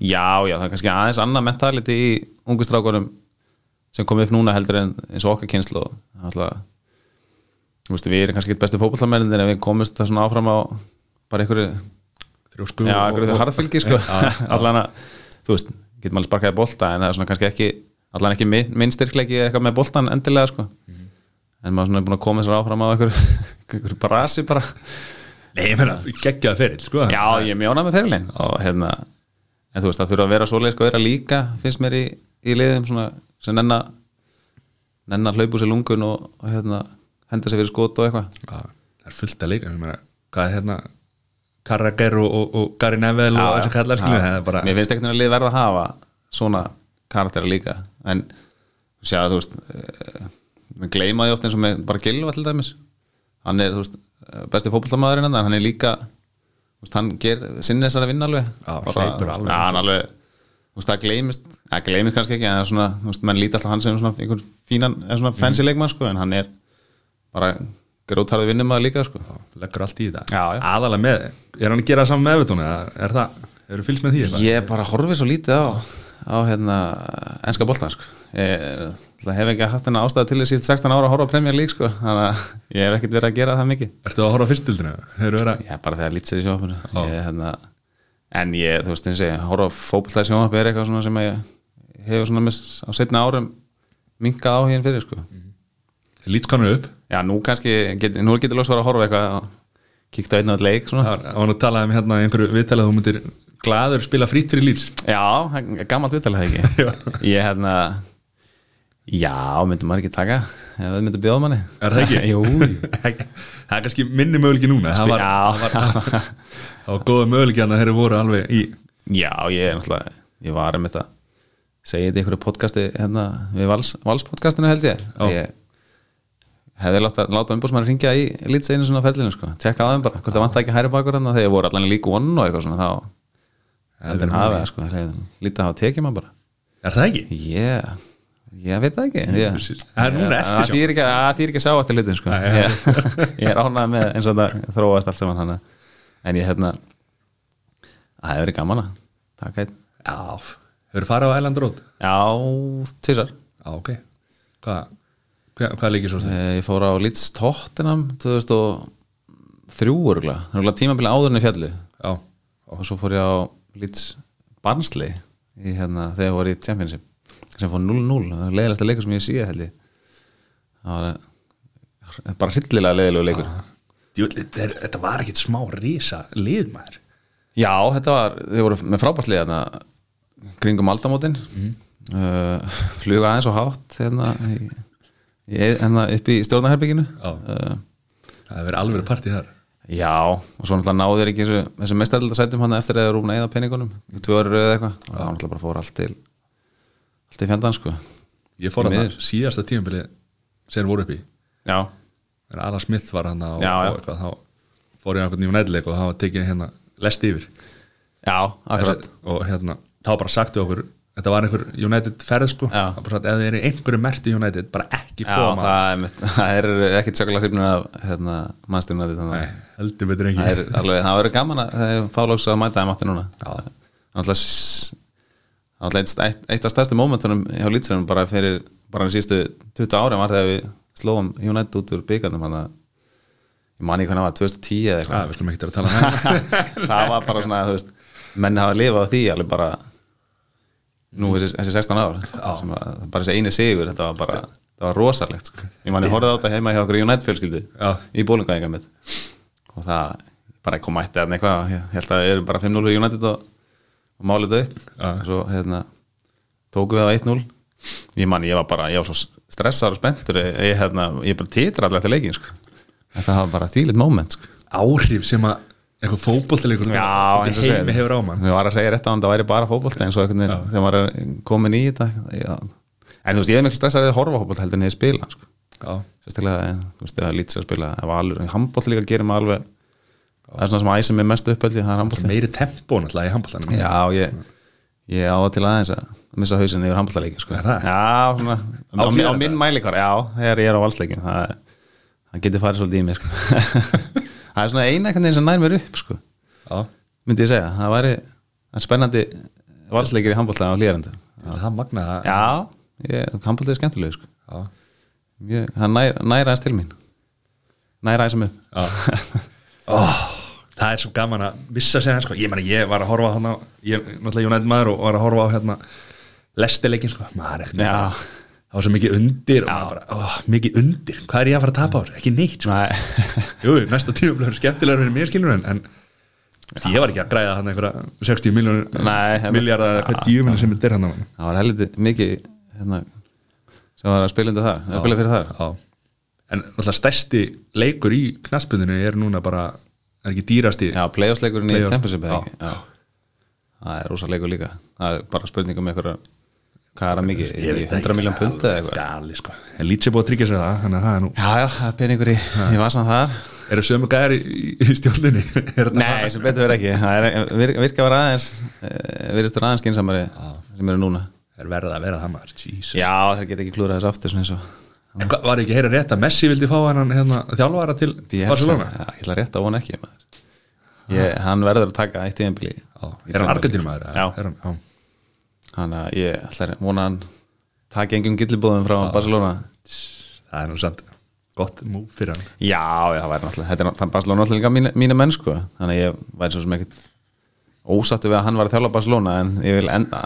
Já, já, það er kannski aðeins annað mentality í ungu strákunum sem kom upp núna heldur en eins og okkar kynslu náttúrulega þú veist, við erum kannski ekki bestu fótballamennin en við komumst það svona áfram á bara einhverju Þrjósku Já, og- akkur þau og- harðfylgi sko allan að, þú veist, getur maður sparkaði bolta en það er svona kannski ekki, allan ekki minn, minn styrkleiki er eitthvað með boltan endilega sko Mhm. en maður svona er búin að koma sér áfram á einhver, einhver brasi bara Nei, ég meina, geggjaða ferill, sko Já, ég mjóna með fyrirlein og hérna, en þú veist, það þurfa að vera svoleið sko, er að líka, finnst mér í, í liðum svona, sem nenna nenna hlaupu sér lungun og, og hérna, henda sér fyrir skot og eitthvað Já, það er fullt að leika ég meina, hvað er hérna Carragher og, og, og Gary Neville og þessi kallar skilur það er bara Mér finnst ekkert að lið verða að hafa svona karaktera líka en sjá þú veist eh, við gleyma því oft eins og með bara Gilva til dæmis hann er þú veist eh, besti fótballamaðurinn en hann er líka þú veist, hann ger sinni þessari vinna alveg Já, bara, hleypur alveg. ja, hann alveg þú veist það gleymist það gleymist kannski ekki en það er svona þú veist menn líti alltaf hann sem svona einhvern fínan eh, svona fancy Mhm. leikmann sko en hann er bara grótarði vinnumæður líka sko leggur allt í þetta Já, já. aðalega með, er hann að gera það saman með Evertón eða er það, eru fylgst með því eitthvað? Ég bara horfið svo lítið á á hérna enska boltan sko. ég ætla, hef ekki haft hennar ástæða til þess í 16 ára að horfa á Premier League sko. þannig að ég hef ekkert verið að gera það mikið Ertu að horfa á fyrstildinu? Hefur verið að ég er bara þegar lítið sér í sjónvarpinu Ég, hérna, en ég, þú veist, eins og ég horfa á fótbolta í sjónvarpinu er eitthvað svona sem að ég hefur svona með, á setna árum minkað áhugin fyrir sko. lítkannu upp já, nú kannski, get, nú getur loks að að horfa á eitthvað og kíkta einn og einn leik svona. það var- það var nú að tala um hérna í einhverju viðtalið þú myndir glaður spila frýtt fyrir lít Já, það er gammalt viðtalið það ekki Ég hérna Já, myndum maður ekki taka ef þau myndum bjóða manni er það ekki? Jú það er kannski minni möguleiki núna það var, Já, það var góða möguleiki hann að þeir voru alveg í já ég er náttúrulega Ég var um þetta segið þetta í einhverju podcasti hérna, við vals, valspodcastinu held ég Já. Ég hefði láta, láta umbúrsmann ringja í lítið einu svona ferlinu sko, tjekka á þeim bara, hvort það vant ekki hæri bakur hann þegar voru allan lík one og eitthvað svona þá, heldur en hafa sko, lítið að hafa tekið maður bara er það ekki? Yeah. Ég veit það ekki ég- Það er núna Ég- eftirsjá. að því er ekki að því er ekki að sjá eftir hlutin sko. ég, ég er ánað með eins og það þróast allt saman hana en ég hérna það hefur verið gaman að taka einn já, hefur farið á Island Road? já, tísar Já, ok Hvað, hvað, hvað leikir svo stið? Eh, ég fór á Leeds Tottenham 2003 örgulega tímabili áðurinn í fjallu Já, og svo fór ég á Leeds Barnsley í, hérna, þegar ég voru í Championship sem fór 0-0, það var leiðilegsta leikur sem ég sé held ég það var eh, bara hryllilega leiðilegu leikur Djúli, þeir, þetta var ekkit smá risa liðmaður já, þetta var, þau voru með frábært leið hérna, kringum aldamótin mm. fluga aðeins og hátt hérna, í, í, hérna upp í stjórnaherbygginu Já. uh, Það hefur verið alveg partí þar Já, og svo náttúrulega náðu þér ekki þessu, þessu mestarildasætum hann eftir að rúmna eða peningunum í tvö ári röðu eitthvað og það náttúrulega bara fór allt til allt til fjandan sko Ég fór Því hann miður. síðasta tímabili sem þeir voru upp í Já, en Alan Smith var hann og, Já, já. og eitthvað, þá fór ég á einhvern nýjum nætleik og það var tekin hérna lest yfir já, akkurat og hérna, þá bara sagtu okkur þetta var einhver United ferð sko Já. Það bara sagt, ef þið eru einhverju merti United bara ekki Já, koma það er, mitt- það er ekkit sjökulega hrifnir af hérna, mannstyrna þetta Nei, heldur betur ekki það er alveg, það verður gaman að það er fálóks að mæta þeim aftur núna Já. náttúrulega s- náttúrulega eitt, eitt- eitt af stærstu mómentunum hjá Lítsunum bara fyrir bara den sístu 20 ári var þegar við slóum United út úr byggarnum hann að ég man ekki hvernig það var 2010 eða Já, eitthvað við skulum ekki að tala um það það var bara svona, þú veist menni hafa lifað á því alveg bara nú þessi, þessi 16 ár sem að, bara þessi eini sigur, þetta var bara þetta var rosalegt, sko. ég manni horfði á þetta heima hjá okkur United fjölskyldu Já. í bólingaðingar mitt og það, bara kom mætti að eitthvað, ég held að við erum bara 5-0 í United og, og málið dött Já. svo hérna, tókum við það 1-0 ég manni, ég var bara, ég var svo stressar og spenntur, ég, hérna, ég bara titra allir eftir leikin, sko þetta var bara þvílitt moment, sko Áhrif sem að eitthvað fótboltilegur Já, eins og segir heimi hefur á mann Við varum að segja rétt á hann, það væri bara fótbolta eins og einhvern veginn þegar maður er komin í þetta já. En þú veist, ég er miklu stressað að horfa á fótbolta heldur en ég spila sko. Já, Sérstaklega, þú veist, það lítið að spila að valur, en handbolta líka gerir maður alveg Það er svona sem æsir mig mest uppöldi, það er handbolta meiri tempó náttúrulega í handbóltanum Já, ég, ég á það til aðeins að missa hausinn yfir handboltaleiki sko. Er það? Já, svona, á, Á á, þér á minn mælikvar, já, þegar ég er á valsleikin það, það getur farið svolítið í mér sko. Það er svona eina einhvern veginn sem nær mér upp sko Já, myndi ég segja, það væri það er spennandi valsleikir í handbólta á hlýjarandi það magna Já, Já, handbólta er skemmtileg sko. já. Mjög, það nær, næra aðeins til mín næra aðeins um að mér oh, það er svo gaman að missa sig hans sko. ég, meni, ég var að horfa á hérna ég er náttúrulega United maður og var að horfa á hérna lestileikin sko. maður er ekkert Já. bara- það var svo mikið undir og maður bara, oh, mikið undir, hvað er ég að fara að tapa á þessu ekki neitt, sko. Nei, jú, næsta tíu blöður skemmtilegur fyrir mér skilur en, en ja. ég var ekki að græða hann einhverja 60 Nei, miljónur en- miljardar eða hvað tíu miljón sem þetta er hann á það var heldur mikið hérna, sem var að spila undir það að spila fyrir það Já. en náttúrulega stærsti leikur í knattspundinu er núna bara er ekki dýrasti Já, playoffsleikurinn í Playoff. Championship eða Já. ekki Já. Það er rosa leikur líka það er bara spurning um einhverja hvað er að mikið, Ég veit 100 ekki, miljón punta eða eitthvað Dali, sko. En Leeds er búið að tryggja sér það, þannig að það er nú Já, já, það er peningur í, í vasan þar Eru sömu gæðar í, í stjórninni? Er þetta- Nei, sem betur verið ekki Það er, vir, virka að vera aðeins virðistur aðeins skinsamari sem eru núna Er verið að vera það maður, Jesus Já, þeir geta ekki klúra þessu aftur svona eins og En hvað var ekki að heyra rétt að Messi vildi fá hann hérna, þjálfara til Bielsa. Barcelona? Já, ég ætla rétt að vona ekki maður. ég, Hann verður að taka eitt tíðanbili Já, er hann Argentínu maður? Já. Er hann, já. Þannig að ég ætla að vona hann taka engum gillibóðum frá Barcelona Það er nú samt gott múf fyrir hann Já, já, það væri náttúrulega Þetta er náttúrulega Barcelona náttúrulega líka mínu, mínu menn sko Þannig að ég væri svo sem ekkert ósattu við að hann var að þjála Barcelona en ég vil enda,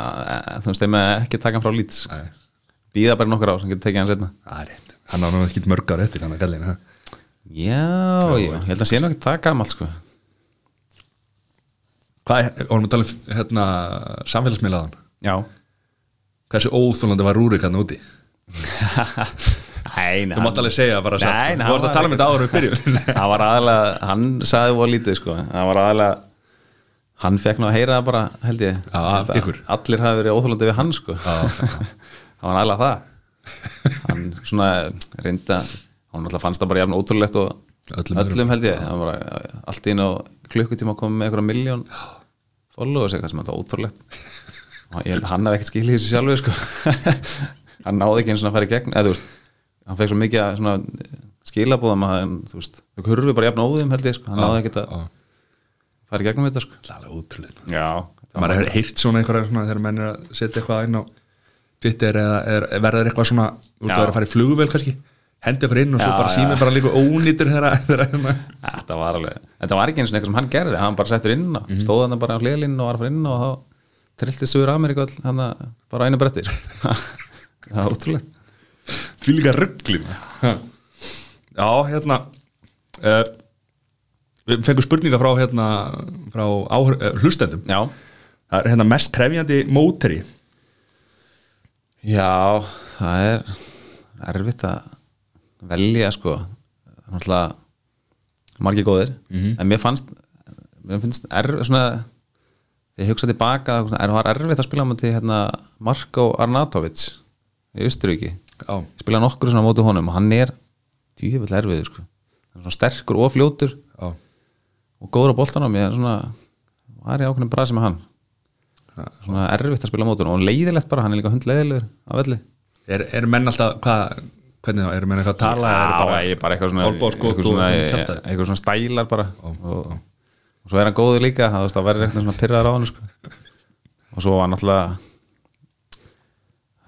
þú veist, þeim að ekki taka hann frá lít Nei, Býða bara nokkur ár, hann getur tekið hann setna Það er rétt Hann á nú ekki mörg ára eftir hann að gæli Já, já, ég held að sé nú ekki það gamalt sko Hvað er, vorum að tala um hérna, samfélagsmiðlaðan Já Hversu óþólandi var Rúrik hann úti? Nei, nei Þú mátt alveg segja bara satt, Nei, sko. nei, Þú varst hann að tala um var þetta áður við byrjum Það var aðalega, hann sagði voða lítið sko Það var aðalega Hann fekk nú að heyra það bara, held ég Já, af Það- ykkur. Allir hafi verið óþólandi við hann sko Já. Það var aðalega það Hann svona reynda Hann alltaf fannst það bara jafn ótrúlegt og Öllum öllum, held ég Hann var allt í inn á klukkutíma að koma með einhverja miljón followers eitthvað sem þetta var ótrúlegt og ég held að hann hafði ekkert skilið þessu sjálfu sko. hann náði ekki eins og að fara í gegn eða þú veist, hann fekk svo mikið að svona skilabóðum að hann, þú veist þau hurfi bara jafn óðum held ég sko. hann náði ekkert að fara í gegnum þetta sko. Það er alveg ótrúlega já, maður hefur heyrt svona einhverja svona þegar menn er að setja eitthvað inn á Twitter eða er, verður eitthvað svona út að Já. vera að fara í flugvél kannski hendi okkur inn og svo Já, bara já. símið bara líka ónýtur þegar þegar hérna þetta var alveg þetta var ekki eins og eitthvað sem hann gerði, hann bara settur inn mm -hmm. stóð hann bara á hliðlinn og var að fara inn og þá trillti Suður Ameríku all hann bara á einu brettir það var ótrúlegt því líka ruggli já, hérna uh, við fengum spurninga frá hérna frá áhör, uh, hlustendum já, það er hérna mest trefjandi móteri Já, það er erfitt að velja sko náttúrulega margir góðir en mér fannst mér finnst erfitt svona ég hugsa tilbaka, svona, er- var erfitt að spila á til hérna, Marko Arnatovic í Östuríki já, ég spila nokkur svona á móti honum og hann er djúvill erfiður sko hann er svona sterkur og fljótur já, og góður á boltanum ég er svona var í ákveðin brasi með hann svona erfitt að spila mótur og leiðilegt bara, hann er líka hundleiðilegur á velli er, er menn alltaf, hvað, hvernig þá, er menn eitthvað að tala eða Já, er bara, ég er bara eitthvað svona olnbogaskot eitthvað og svona, eitthvað kjaftaði? eitthvað svona stælar bara og, já. og svo er hann góður líka það, þú veist, það verður eitthvað svona pyrraðar á hann sko. og svo var náttúrulega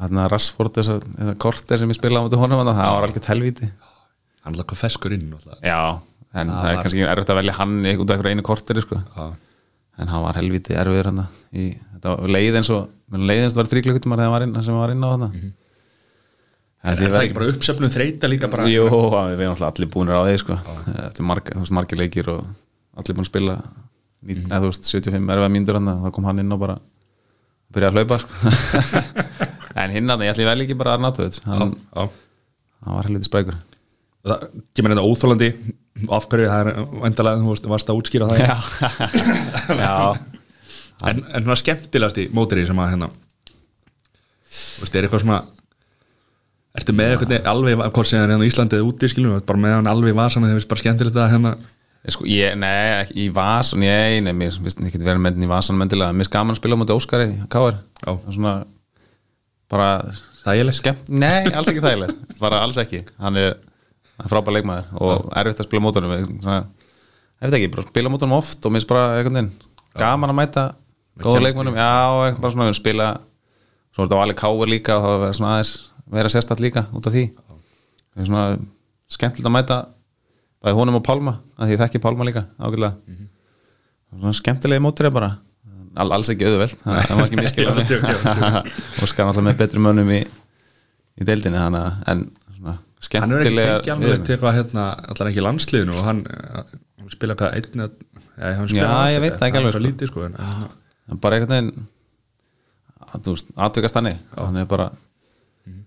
þarna Rassford þess að þess að korter sem ég spilaði á móti honum þarna, það var algjört helvíti hann er alltaf feskur inn alltaf. já, en það er kannski erfitt að velja hann í út af einhverju einu korteri sko. en hann var helvíti erfiður hann í, þetta var leið eins og mér leið eins og það var þríklukkutum þegar hann var inn, sem hann var inn á þarna Er, er það ekki bara uppsefnum þreita líka bara Jú, við erum alltaf allir búinir á því sko. Þetta er marg, þú veist, margir leikir og allir búin að spila ní, Mhm. mm. eða, þú veist, 75 erfið mínútur hann þá kom hann inn og bara byrjaði að hlaupa sko. en hinn að ég ætli vel ekki bara að natu hann, Já. hann var helviti sprækur það kemur þetta óþólandi af hverju það er endalega, þú veist, varst að útskýra það Já, já en, en svona skemmtilegasti móteri sem að hérna þú veist, er eitthvað svona ertu með eitthvað alveg, hvort sem það er hérna á Íslandi eða úti, skilum, bara með hann alveg vasan þegar finnst bara skemmtilegt að hérna Sko, ég, nei, ekki í vasan, nei, nei, mér finnst ekki verið með henni í vasan mendilega, mér finnst gaman að spila á móti Óskari, Káir, Já. svona bara þægilegt, skemmt, nei, alls ekki þægilegt bara alls ekki, hann er, hann er frábær leikmaður og erfitt að spila mótunum ég veit ekki, bara spila mótunum oft og minnst bara einhvern veginn, gaman að mæta góða leikmannum, já, eitthvað bara svona spila, svo er þetta á alveg káur líska og það verður svona aðeins, vera sérstætt líka út af því, það er svona skemmtilegt að mæta bæði honum og Pálma, að því ég þekki Pálma líka ágætlega, svona skemmtilegi mótur er bara, All, alls ekki auðveld það það má ekki miskila Ég veit, ég veit, ég og skan alltaf með betri mönnum í, í deildinni þannig að- en svona hann er ekki skemmtilega fengið alveg til eitthvað hérna, allar ekki í landsliðinu og hann, eh, hann spila hvað einn eða- já, hann spila Já, aðeins, ég veit það ekki hann er alveg, svo sko. lítið, sko, en, hérna, bara einhvern veginn að, þú veist, atvikast hann hann er bara Mhm.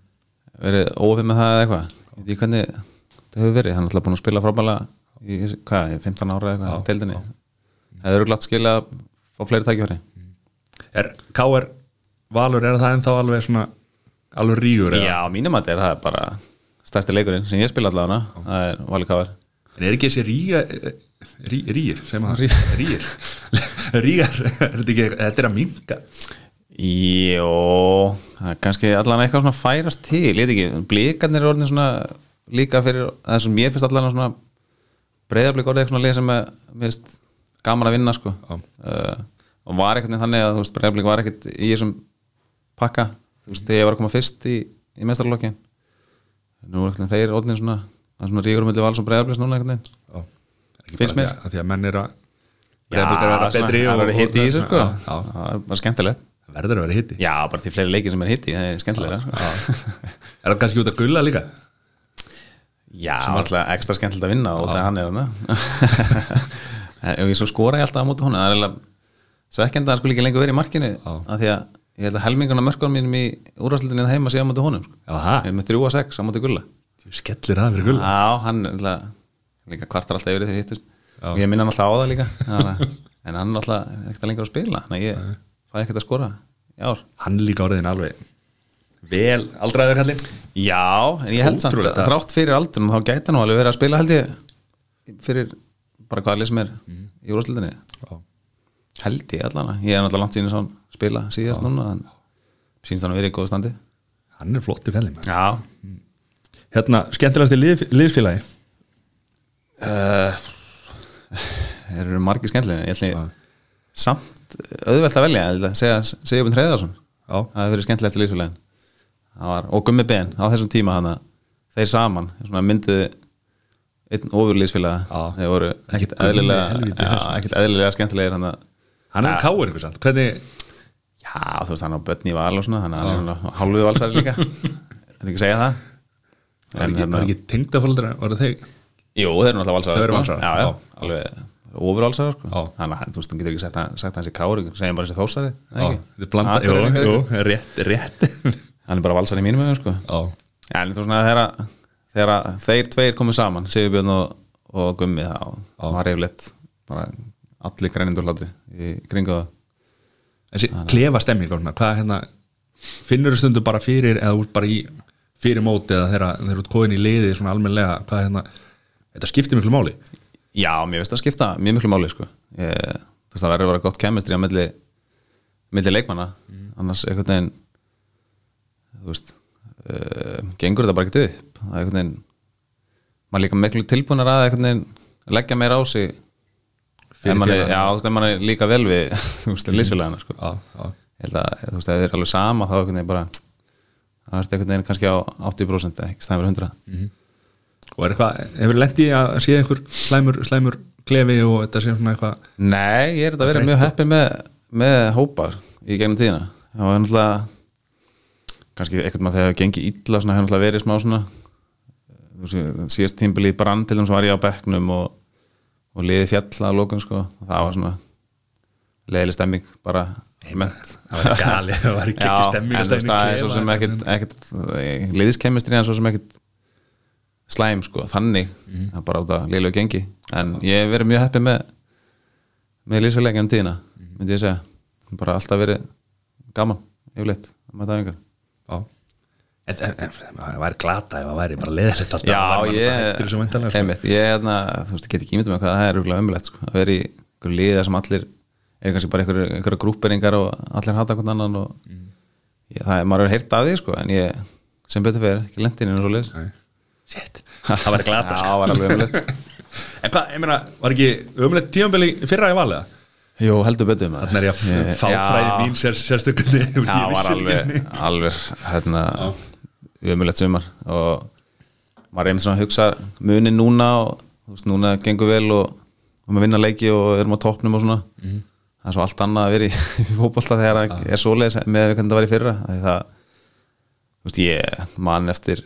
verið ofið með það eða eitthvað ég veit ekki hvernig það hefur verið, hann er alltaf búin að spila frábæla í, hvað, í 15 ára eða eitthvað í deildinni, það eru glatt skilja á fleiri tækifæri er K.R. Valur, er það ennþá alveg svona alveg rígur, eða? Já, mínum að þetta er það er bara stærsti leikurinn sem ég spila allavega það er Vali Káver en er ekki þessi ríga eh, rí, rígir, sem að rígir rígar, er þetta ekki þetta er að minka Jó, það er kannski allan eitthvað svona færast til, ég veit ekki, blikarnir er orðin svona líka fyrir það sem mér finnst allan svona breyðarblik orðið eitthvað svona lið sem er mér finnst gaman að vinna sko uh, og var eitthvað þannig að þú veist breyðarblik var ekkert í þessum pakka þú veist þegar ég var að koma fyrst í, í mestarlokkin nú er eitthvað þeir orðin svona, það er svona rígur um milli vals og breyðarbliks núna eitthvað neginn Já. Ekki Finnst bara mér. því að- að því að menn eru að Breiðablik er að vera betri það og- verður hitti í þessu og- sko Já, já. það er bara skemmtilegt Það verður að vera hitti já, bara því fleiri leiki sem er hitti, það er skemmtilega sko. er það kannski út að gulla líka já, sem alltaf ekstra skemmtilegt að vinna og það hann er hann og ég svo skora ég alltaf á móti honum það er eiginlega svekkjandi að hann skulle ekki lengur verið í markinu af því að ég held að helminguna mörkunum mínum í úrvarslutinni heima sé á móti honum sko. já, það, ég er með 3 að 6 á móti gulla þú skellir að fyrir gulla Já, hann er náttúrulega- líka kvartar alltaf yfir því hittust og ég minna hann alltaf á það líka þannig að- en hann er alltaf ekkert lengur að spila þannig að ég fæ ekkert að skora í ár hann er líka orðin alveg vel aldraður kallinn Já, en ég held samt að Ótrúlegt, það. þrátt fyrir aldrun þá gæti hann nú alveg verið að spila held ég fyrir bara hvaða lið sem er Mhm. í úrslildinni Já. held ég allan ég er náttúrulega langt síðan að spila síðast núna en sínst hann að vera í góðu standi hann er flott í fellin Já hérna, skemmtilegasti lið, liðsfélagi uh, Það eru margir skemmtilegir Ég ætli samt auðvelt að velja ég ætla að segja Sigurbjörn Hreiðarsson Já. Það hefur verið skemmtilegt í lýsfélagin var, og Gummi Ben á þessum tíma hana, þeir saman svona, mynduðu einn ofurlýsfélaga Já. þeir voru ekkit Gummi, eðlilega, helvíti, já, ekkit eðlilega skemmtilegir hana. hann er káur ykkur sann, hvernig já þú veist hann á börn í val og svona þannig að hann er hann hálfuðu valsari líka þetta ekki segja það hérna- var ekki, var ekki tengdafóldur voru þeir Jú, þeir eru náttúrulega valsarar Þau eru sko. valsarar, Já, já, já. alveg ofurvalsarar sko. Já. Þannig að þú veist, þú getur ekki sagt að, sagt að hans í kári segjum bara þessi þósari eða Já, ekki? þetta er blanda, Ah, jú, Akureyri, jú, rétt, Reykjavík. rétt Hann er bara valsari í mínum öðum sko. Já, En þú veist, svona, þegar, að- þegar að þeir tveir komu saman Sigurbjörn og, og Gummi þá var yfirleitt bara allir grænindur hlátri í kringu það þessi klefa stemming hvað hérna, finnur þú stundu bara fyrir eða út bara í fyrir móti eða þeirra, þeirra út kóðin í liði svona almennlega, hvað hérna þetta skiptir miklu máli Já, mér veist að skipta mjög miklu máli sko. ég, þess að verður að vera gott kemistri á milli milli leikmanna annars einhvern veginn þú veist uh, gengur þetta bara ekki upp það er einhvern veginn maður er líka miklu tilbúinur að einhvern veginn leggja meira á sig Fyrir en maður er, félagið. já, þú veist, en maður er líka vel við þú veist, liðsfélagana sko. Já, já. ég held að, þú veist, ef þið er alveg sama þá einhvern veginn bara það er einhvern veginn kannski á 80% eða ekki stæðan verið 100 og er eitthvað, hefur lent í að sé einhver slæmur, slæmur klefi og þetta sé svona eitthvað Nei, ég er þetta að vera mjög heppið með, með hópar í gegnum tíðina það var náttúrulega kannski ekkert maður þegar það gengi illa svona, hefur náttúrulega verið smá svona þú sé, síðast tímbili í brandilum sem var ég á bekknum og, og liði fjalla að lókum sko, og það var svona leiðileg stemming bara heimend það var gali, það var ekki Já, stemming en þú veist, það er svo sem ekkit, ekkit liðiskemistri en svo sem ekkit slæm sko, þannig það er bara út að liðlega gengi en ég hef verið mjög heppið með með liðsfélagi um tíðina, myndi ég segja bara alltaf verið gaman yfirleitt, að maður það yngar Já. En, en, en það væri glata ef það væri bara leðilegt alltaf Já, það hættir þessu ég, væntanlega sko. einmitt, ég hérna, þú veist, ég get ekki ímyndum með hvað það er rúglega ömulegt, sko, að vera í einhver liða sem allir, er kannski bara einhver, einhverja grúperingar og allir hata hvern annan og Mhm. ég, það er, maður er heyrt af því, sko, en ég, sem betur fyrir, ekki lendin inn og svo leis. Nei. Shit, það væri sko. glata Já, það sko. var alveg ömulegt. En hvað, ég meina, var ekki ömulegt tímanbeli fyrra í valið? Jú, heldur betur maður. Þannig er ég að fá fræði mín sér, sérstökundi Já, það var alveg, alveg, hérna, ömulegt sumar og maður er einmitt svona að hugsa munin núna og þú veist, núna gengur vel og og maður vinna leiki og erum á toppnum og svona það er svo allt annað að vera í, í fótbolta þegar það er svoleiðis með hvernig það var í fyrra af því það, þú veist, ég man eftir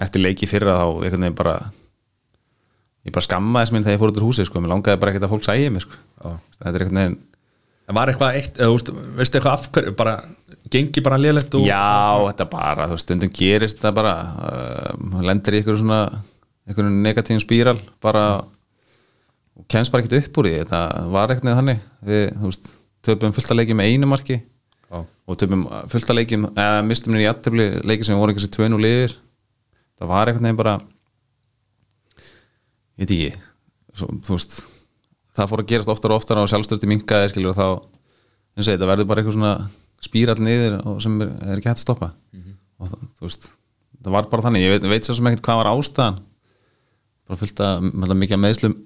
eftir leiki í fyrra þá einhvern veginn bara ég bara skammaðis mín þegar ég fór út úr húsi sko, mér langaði bara ekkert að fólk sæði mig sko. Já. þetta er einhvern veginn En var eitthvað eitt, eða, úst, veistu eitthvað af hverju, bara, gengi bara leðilegt og Já, þetta bara, þú veist, stundum gerist þetta bara, um, lendir í einhverju svona einhverju negatífum spíral bara og kemst bara ekkert upp úr því, þetta var ekkert neð þannig við, þú veist, töpum fullt að leikjum með einu marki Já. og töpum fullt að leikjum eða mistum niður í aðtöfli leiki sem voru einhversu tveinu liðir það var ekkert neð bara ég veit ekki svo, þú veist, það fór að gerast oftar og oftar og sjálfstöldi minkaði skilur og þá eins og þetta verður bara eitthvað svona spírall niður og sem er, er ekki hægt að stoppa og það, þú veist það var bara þannig, ég veit, veit sér sem ekkert hvað var ástæðan bara fullt að með mikið af meðslum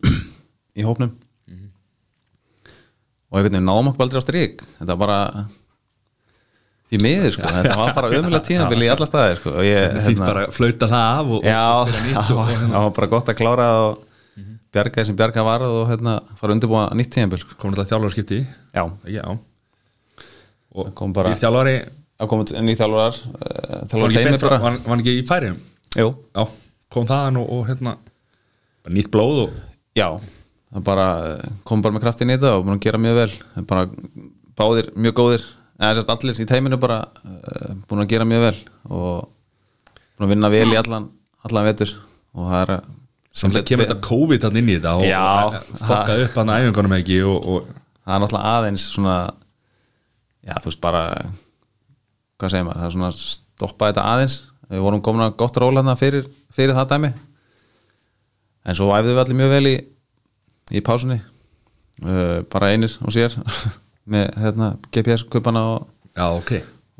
í hópnum og einhvern veginn náum okkur aldrei á strik þetta var bara því miður sko, þetta var bara ömulega tíðanbili í alla staði sko, og ég þýtt bara flauta það af og, já, og byrja nýtt það og, hérna- Mhm. var- það var bara gott að klára það og bjarga því sem bjarga varð og hérna, fara að undirbúa nýtt tíðanbili sko. og komin þetta þjálfarskipti já, Já Og kom bara- nýr þjálfari að koma nýtt þjálfarar uh, var þjálfarar ekki, teimi betra, bara var, var ekki í færiðum Jú. Já, kom þaðan og, og hérna bara nýtt blóð og já, það bara eh, kom bara með kraftin í þetta og búin að gera mjög vel Það bara báðir mjög góðir eða sérst allir í teiminu bara uh, búin að gera mjög vel og búin að vinna vel í allan, allan vetur og það er að- samt að kemur þetta COVID hann inn í þetta og, Já, og fokkaði upp hann að æfingunum ekki og, og það er náttúrulega aðeins svona já þú veist bara hvað segir maður, það er svona stoppaði þetta aðeins við vorum komin að gott róla þarna fyrir, fyrir það dæmi en svo æfðum við allir mjög vel í, í pásunni uh, bara einir og sér með hérna, GPS-kupana og já, ok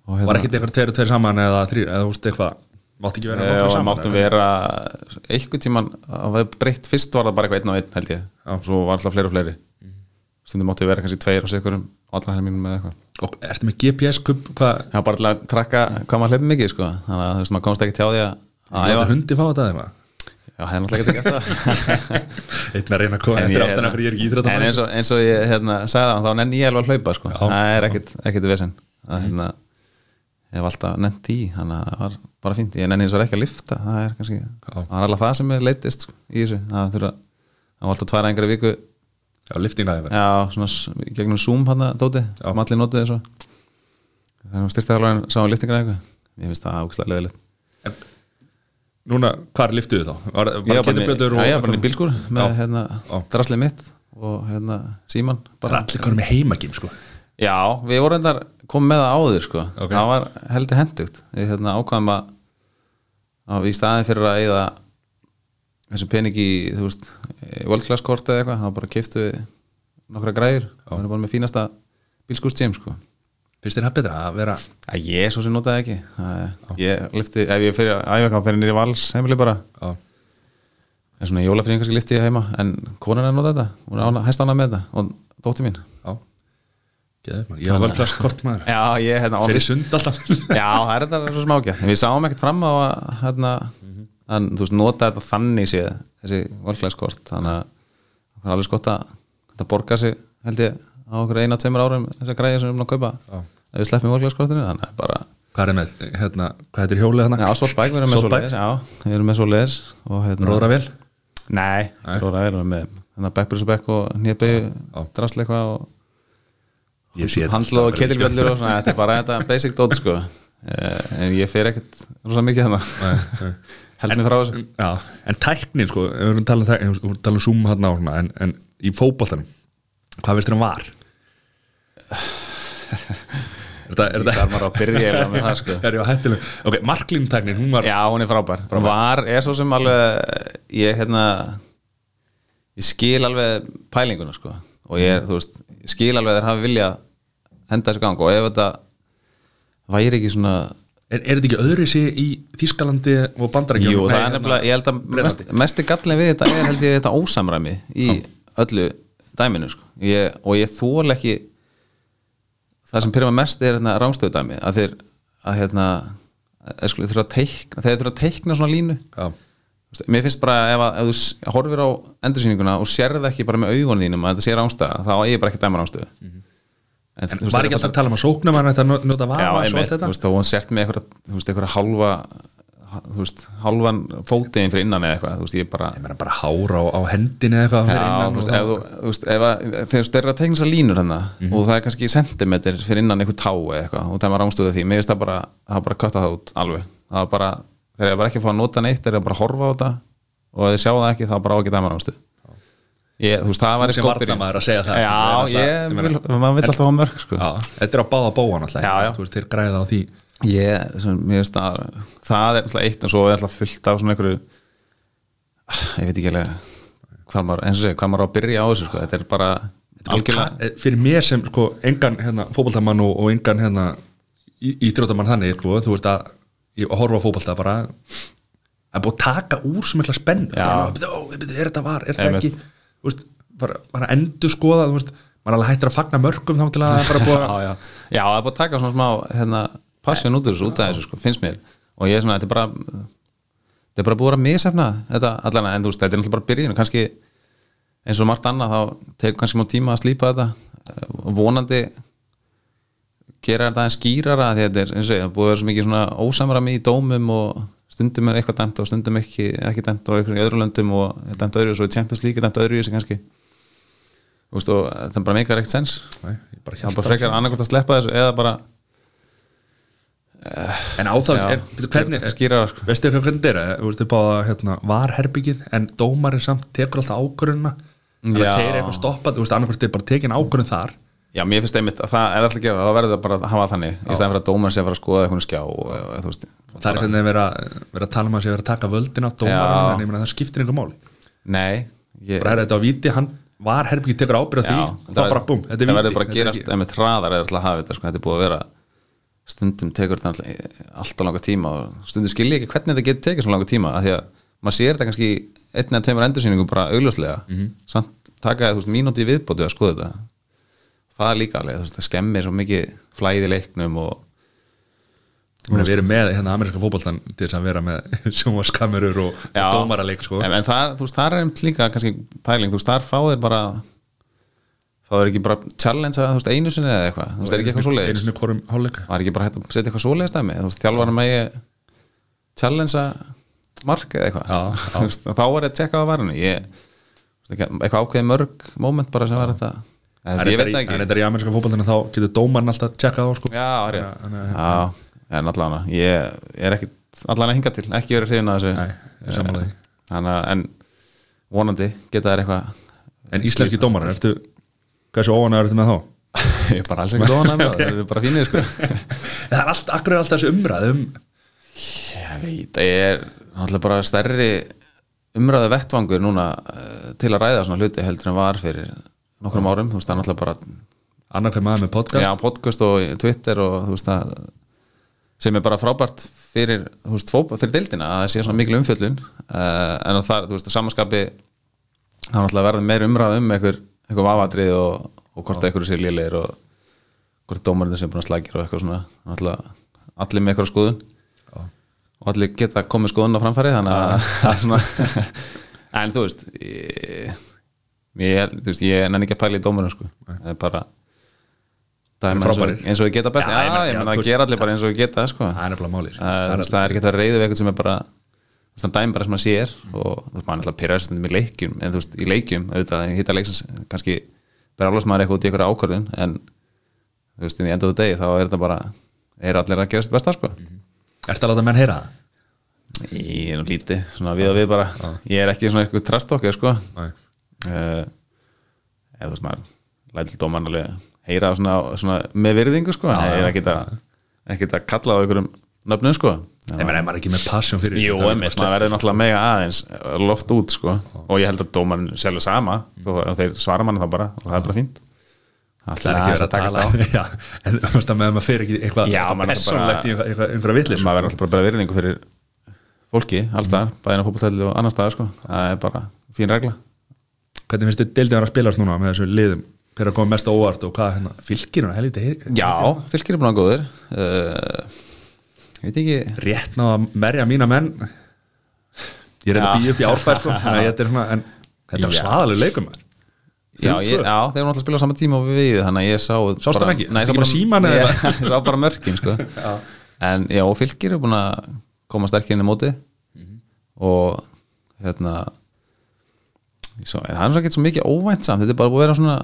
Og hérna- Var ekkert eitthvað tveir og tveir saman eða þrýr eða þú veist eitthvað Mátti ekki vera nokkrir eh, og saman máttum eða? vera einhvern tíman að það breytt fyrst var það bara eitthvað einn og einn held ég Já. Mhm. svo var alltaf fleiri og fleiri stundum máttum við vera kannski tveir og sér ykkur um allan helmingum með eitthvað Og ertu með GPS kubb, hvað Já, bara til að trakka hvað maður hleypur mikið sko. þannig að þú veist, maður komst ekki tjá því að að Láta æfa. hundi fá þetta eða eitthvað Já, það er náttúrulega ekki að geta Einn að reyna að koma En Þetta er ég- aftan af hverju ég er ekki En íþróttamæður eins og, eins og ég hérna, sagði það, þá nenni ég alveg að hlaupa sko. það er ekkit, ekkit vesinn Mhm. það hérna, ég hef alltaf nennt því þannig að það var bara fínt, ég nenni eins og ekki að lifta það er kannski, það var alveg það sem er leitist sko, í þessu, það þurfa það var alltaf tværa engri viku, Já, liftingaði verið já, svona s- í gegnum Zoom hann að dóti, Já. sem allir notuði svo þannig að styrstaðalóðin sá hann liftingar eitthvað, ég finnst það ákvæmstlega leðilegt Núna, hvar liftuðu þá? Var, ég bara var bara, kettirblöður í- og já, ég var bara í bílskur Já. með hérna, Já. draslið mitt og hérna, síman Bara bara. allir konum með heimagim sko já, við vorum endar komið með það áður sko. Ok. það var heldur hendugt við hérna, ákvæðum að, að í staðin fyrir að eigða þessum pening í þú veist, world class kort eða eitthvað, þá bara keftu við nokkra græður, við erum bara með fínasta bílskúst James sko Finnst þér það betra að vera að ég svo sem notaði ekki að ég lifti, ef ég fyrir æfjökk fyrir nýri vals heimili bara á, en svona í jólafríðin kannski lifti ég heima en konan er að nota þetta, hún er ána, hæst ánað með þetta og dótti mín á Geðið, maður. Ég var völklass kort maður já, ég, hérna, on Fyrir sund alltaf já, það er þetta svo smákja en við sáum ekkert fram á að hérna, en, þú veist, nota þetta þannig séð þessi valklæðskort þannig að það er alveg skott að þetta borga sig held ég á okkur eina, tveimur árum þessar græði sem við erum að kaupa Já. ef við sleppum valklæðskortinu þannig að bara Hvað er með, hérna, hvað heitir hjólið hann? Já, Solbæk, við erum með Solbæk. svoleiðis Já, við erum með svoleiðis og hérna Róðravél? Nei, Nei. Róðravél erum við með Þannig að Beckbrus og Beck og Nýjabi drasl eitthvað og Ég sé þetta handla og alltaf. ketilbjöllur og svona Þetta er bara þetta basic dot sko Eh, En ég fer ekkert rosa mikið hérna Held mér frá þessu Já, en tæknin sko, ef við erum talað um tæknin, við erum talað um Zoom hann á svona, en, en í fótboltanum, hvað veist þér hann var? er þetta, er Það þetta, er maður að byrja eiginlega með það sko er ég á hættileg? Ok, marklínu tæknin, hún var, Já, hún er frábær Hún var, er svo sem alveg Ég hérna Ég skil alveg pælinguna sko Og ég, Mm. er, þú veist, ég skil alveg að þeir hafi vilja Henda þessu gang og ef þetta Væri ekki svona er, er þetta ekki öðru sér í Þískalandi og hérna. Bandarækjum? Jú, það er nefnilega, ég held að mest, mesti gallin við þetta er held ég þetta ósamræmi í öllu dæminu sko. ég, og ég þól ekki það sem pyrra mig mest er hérna, rángstöðu dæmi að þeir að hérna að skuli, þurfa að teikna, þeir þurfa að teikna svona línu Já, Þú veist, mér finnst bara ef, að, ef þú s- horfir á endursýninguna og sérð ekki bara með augunum þínum að þetta sé rángstöða, þá er ég bara ekki að dæma rángstöðu en, þú Mhm. en veist, var þetta ekki er alltaf að tala um að sókna mann þetta njóta vafa Já, og svo einmitt, allt þú þetta? veist, þá hún sért með einhverja, þú veist, einhverja halva þú veist, halvan fótiðin fyrir innan eða eitthvað, þú veist, ég bara Ég meina bara hára á, á hendinni eða eitthvað Já, fyrir innan þú og Mhm. veist, þá- ef þú, þú veist, ef að þegar þú styrir að tegna þessar línur hann og það er kannski sentimeter fyrir innan einhver tá eða eitthvað og það er rámstuðið því, mér finnst það bara það er bara að kötta það út alveg það er bara, þegar ég bara ekki að fá að nota neitt þegar ég bara að horfa á þetta og ef þið sjá það ekki þá bara á ekki dæma rámstuð ég, þú veist, það var sem varnarmaður að segja það, Já, það er alltaf- ég, ég vil, meina- maður vill alltaf hafa mörg sko. Já, þetta er á báða bóan alltaf, Já, já. þú veist, þeir græða á því ég, sem, mér finnst að það er alltaf eitt en svo er alltaf fullt af svona einhverju ég veit ekki alveg hvað maður, eins og segja, hvað maður á að byrja á þessu sko. þetta er bara algjörlega Eh, fyrir mér sem sko engan hérna, fótboltamann og, og engan hérna, í- íþróttamann þannig sko, þú veist að ég horfa á fótbolta bara það er búið að taka úr sem eitthvað spenn Já. bara, "Ó, ó, er þetta var, er þetta Einmitt. ekki þú veist, bara, bara endur skoða þú veist, maður er alveg hættur að fagna mörgum þá til að það er bara búið já, að já. já, það er bara að taka svona smá hérna, passion út úr þessu, út af þessu sko, finnst mér og ég er svona, þetta er bara þetta er bara búið að vera misefna þetta allan en þú veist, þetta er náttúrulega bara byrjun og kannski eins og margt annað þá tegur kannski má tíma að slípa þetta eh, og vonandi gera þetta aðeins skýrara því þetta er, eins og segja, búið að vera svo mikið svona ósamrami í dómum og stundum er eitthvað dæmt og stundum ekki, ekki dæmt og eitthvað í öðru löndum og er dæmt öðru og í Champions League er dæmt öðru í þessu kannski Þú veist, og það bara meikar ekkert sens Nei, ég bara það er hélt bara frekar annarkvæmt að sleppa þessu eða bara að- en á það, Já. er, byrju, hvernig er, skýra sko. veistu eitthvað hvernig þetta er, eh, þú veist, þið báða hérna, varherbyggið en dómarinn samt tekur alltaf ákvörunna þannig Já. að þeir eitthvað stoppa, þú veist, annarkvæmst er bara tekin ákvörun þar já, mér finnst einmitt að það, ef það ætla að gera það þá verður það bara að hafa þannig, í stæðan fyrir að dómar sé að fara að skoða eitthvað skjá og, og, þú veist, og það er hvernig að vera, vera að tala um að sé að vera að taka völdin á dómarinn, Já. en ég meina það skiptir einhver máli nei ég, bara er þetta á viti, hann var herbyggið tekur ábyrð á því, þá það- bara búm, þetta er viti það verður bara að þetta er gerast ekki- einmitt hraðar eða ætla að hafa þetta, sko, þetta er búið að vera stundum tekur þetta alltaf- alltaf langa tíma og stundum skil ég ekki hvernig þetta getur tekið svona langa tíma, af því að maður sér þetta kannski í einni að tveimur endursýningum bara augljóslega, Mhm. samt taka þú veist, mínúti í viðbótu að skoða þetta það er líka alveg, þú veist, það skemmir svo mikið flæði leiknum og Ég meina, við erum með hérna ameríska fótboltan til þess að vera með sjónvaskamerur og Já. dómaraleik sko. en, en það, þú veist, það er einmitt líka kannski pæling, þú veist, þar fá þér bara þá er ekki bara challenge að þú veist, einu sinni eða eitthvað, þú veist, er ekki eitthvað svoleiðis einu sinni hvorum hálfleik var ekki bara hægt að setja eitthvað svoleiðist að mig þú veist, þjálfara megi challenge að marka eða Já, eitthvað Þú veist, og þá er að tjekka á varinu ég, þú veist, ekki- eitthvað ákveðið mörg moment bara sem var þetta eða, þú veist, ég veit það en ekki þetta er í ameríska fótboltan þá getur dómarinn alltaf tjekkað á sko. já, rétt já, en allan að ég er ekki allan að hinga til, ekki verið hrifin að Nei, ég er þessu sammála því. Þannig að, en vonandi geta þær eitthvað en íslenski dómarar, ertu hversu óanæður ertu með þá? ég er bara alls ekki dóna með það, það er bara fínir sko það er allt, akkur er alltaf þessi umræð um, Ég veit, ég er náttúrulega bara stærri umræða vettvangur núna eh, til að ræða svona hluti heldur en var fyrir nokkrum árum, þú veist, það er náttúrulega bara annar hver maður með podcast Já, podcast og Twitter og þú veist það sem er bara frábært fyrir, þú veist, fótball, fyrir deildina að það sé svona mikil umfjöllun uh, en að það, þú veist, að samanskapi það er náttúrulega verður meir umræð um einhver, einhver vafatrið og, og hvort að einhverju sér lélir og hvort dómarinn sem búin að slækir og eitthvað svona náttúrulega allir með eitthvað skoðun og allir geta komið skoðun á framfæri þannig að það er svona en þú veist ég, ég, þú veist, ég nenni ekki að pæla í dómarinn sko, það er bara dæma eins Frábærir. og, eins og ég geta best Já, já, ég meina- já, ég meina þú að veist- gera allir bara eins og ég geta sko. það er nefnilega málið sko. Uh, þú veist, það er ekki hægt að reyða við eitthvað sem er bara þú veist, hann dæmi bara sem maður sér og þú veist, maður er alltaf pyrraðist með leikjum en þú veist, í leikjum, auðvitað, ég hitta leiksins kannski bara alveg sem maður eitthvað út í eitthvað ákvörðun en þú veist, í enda þú degi þá er þetta bara, er allir að gera sitt besta sko Ertu að láta menn heyra það? ég er nú lítið, svona við og við bara ég er ekki svona eitthvað trast okkar sko Nei. uh, eða þú veist maður lætur dóman alveg heyra á svona, svona með virðingu sko, það er ekkert að ekkert að kalla á einhverjum nöfnum sko Nei, maður er maður ekki með passion fyrir Jú, Það er einmitt, bara maður verður náttúrulega mega aðeins eh, loft út sko og ég held að dómarinn sjálfur sama Mm. þó að þeir svara manna þá bara og það er bara fínt Alltaf Það er ekki verið að takast á Já, En þú veist að meðan maður fer ekki eitthvað Já, eitthvað maður er persónlegt bara- í eitthvað- eitthvað- einhverja vitlis maður verður alltaf bara að bera virðingu fyrir fólki, alls staðar, mm. bæðina fótboltæli og annar staðar sko, það er bara fín regla Hvernig finnst þið deildið að spilast núna með þessu liðum? Hver er að koma mest á óvart og hvað hérna, fylgir hún helviti heyri- Já, fylgir er búin að góður uh, ég veit ekki rétt náða að merja mína menn Ég er Já. eitthvað býð upp í árbær sko, þannig að ég- þetta er svona, en þetta er Já. svaðaleg leikum maður. Já, ég, 3-2. já, þeir eru náttúrulega að spila á sama tíma og við þannig að ég sá Sástu hann ekki? Nei, ég sá Ekki bara bara símann eða Ég- Ég sá bara mörkin, sko En já, og fylgir er búin að koma sterkir inn í móti Mhm. og hérna ég svo, það er svo ekki svo mikið óvænt samt þetta er bara búið að vera svona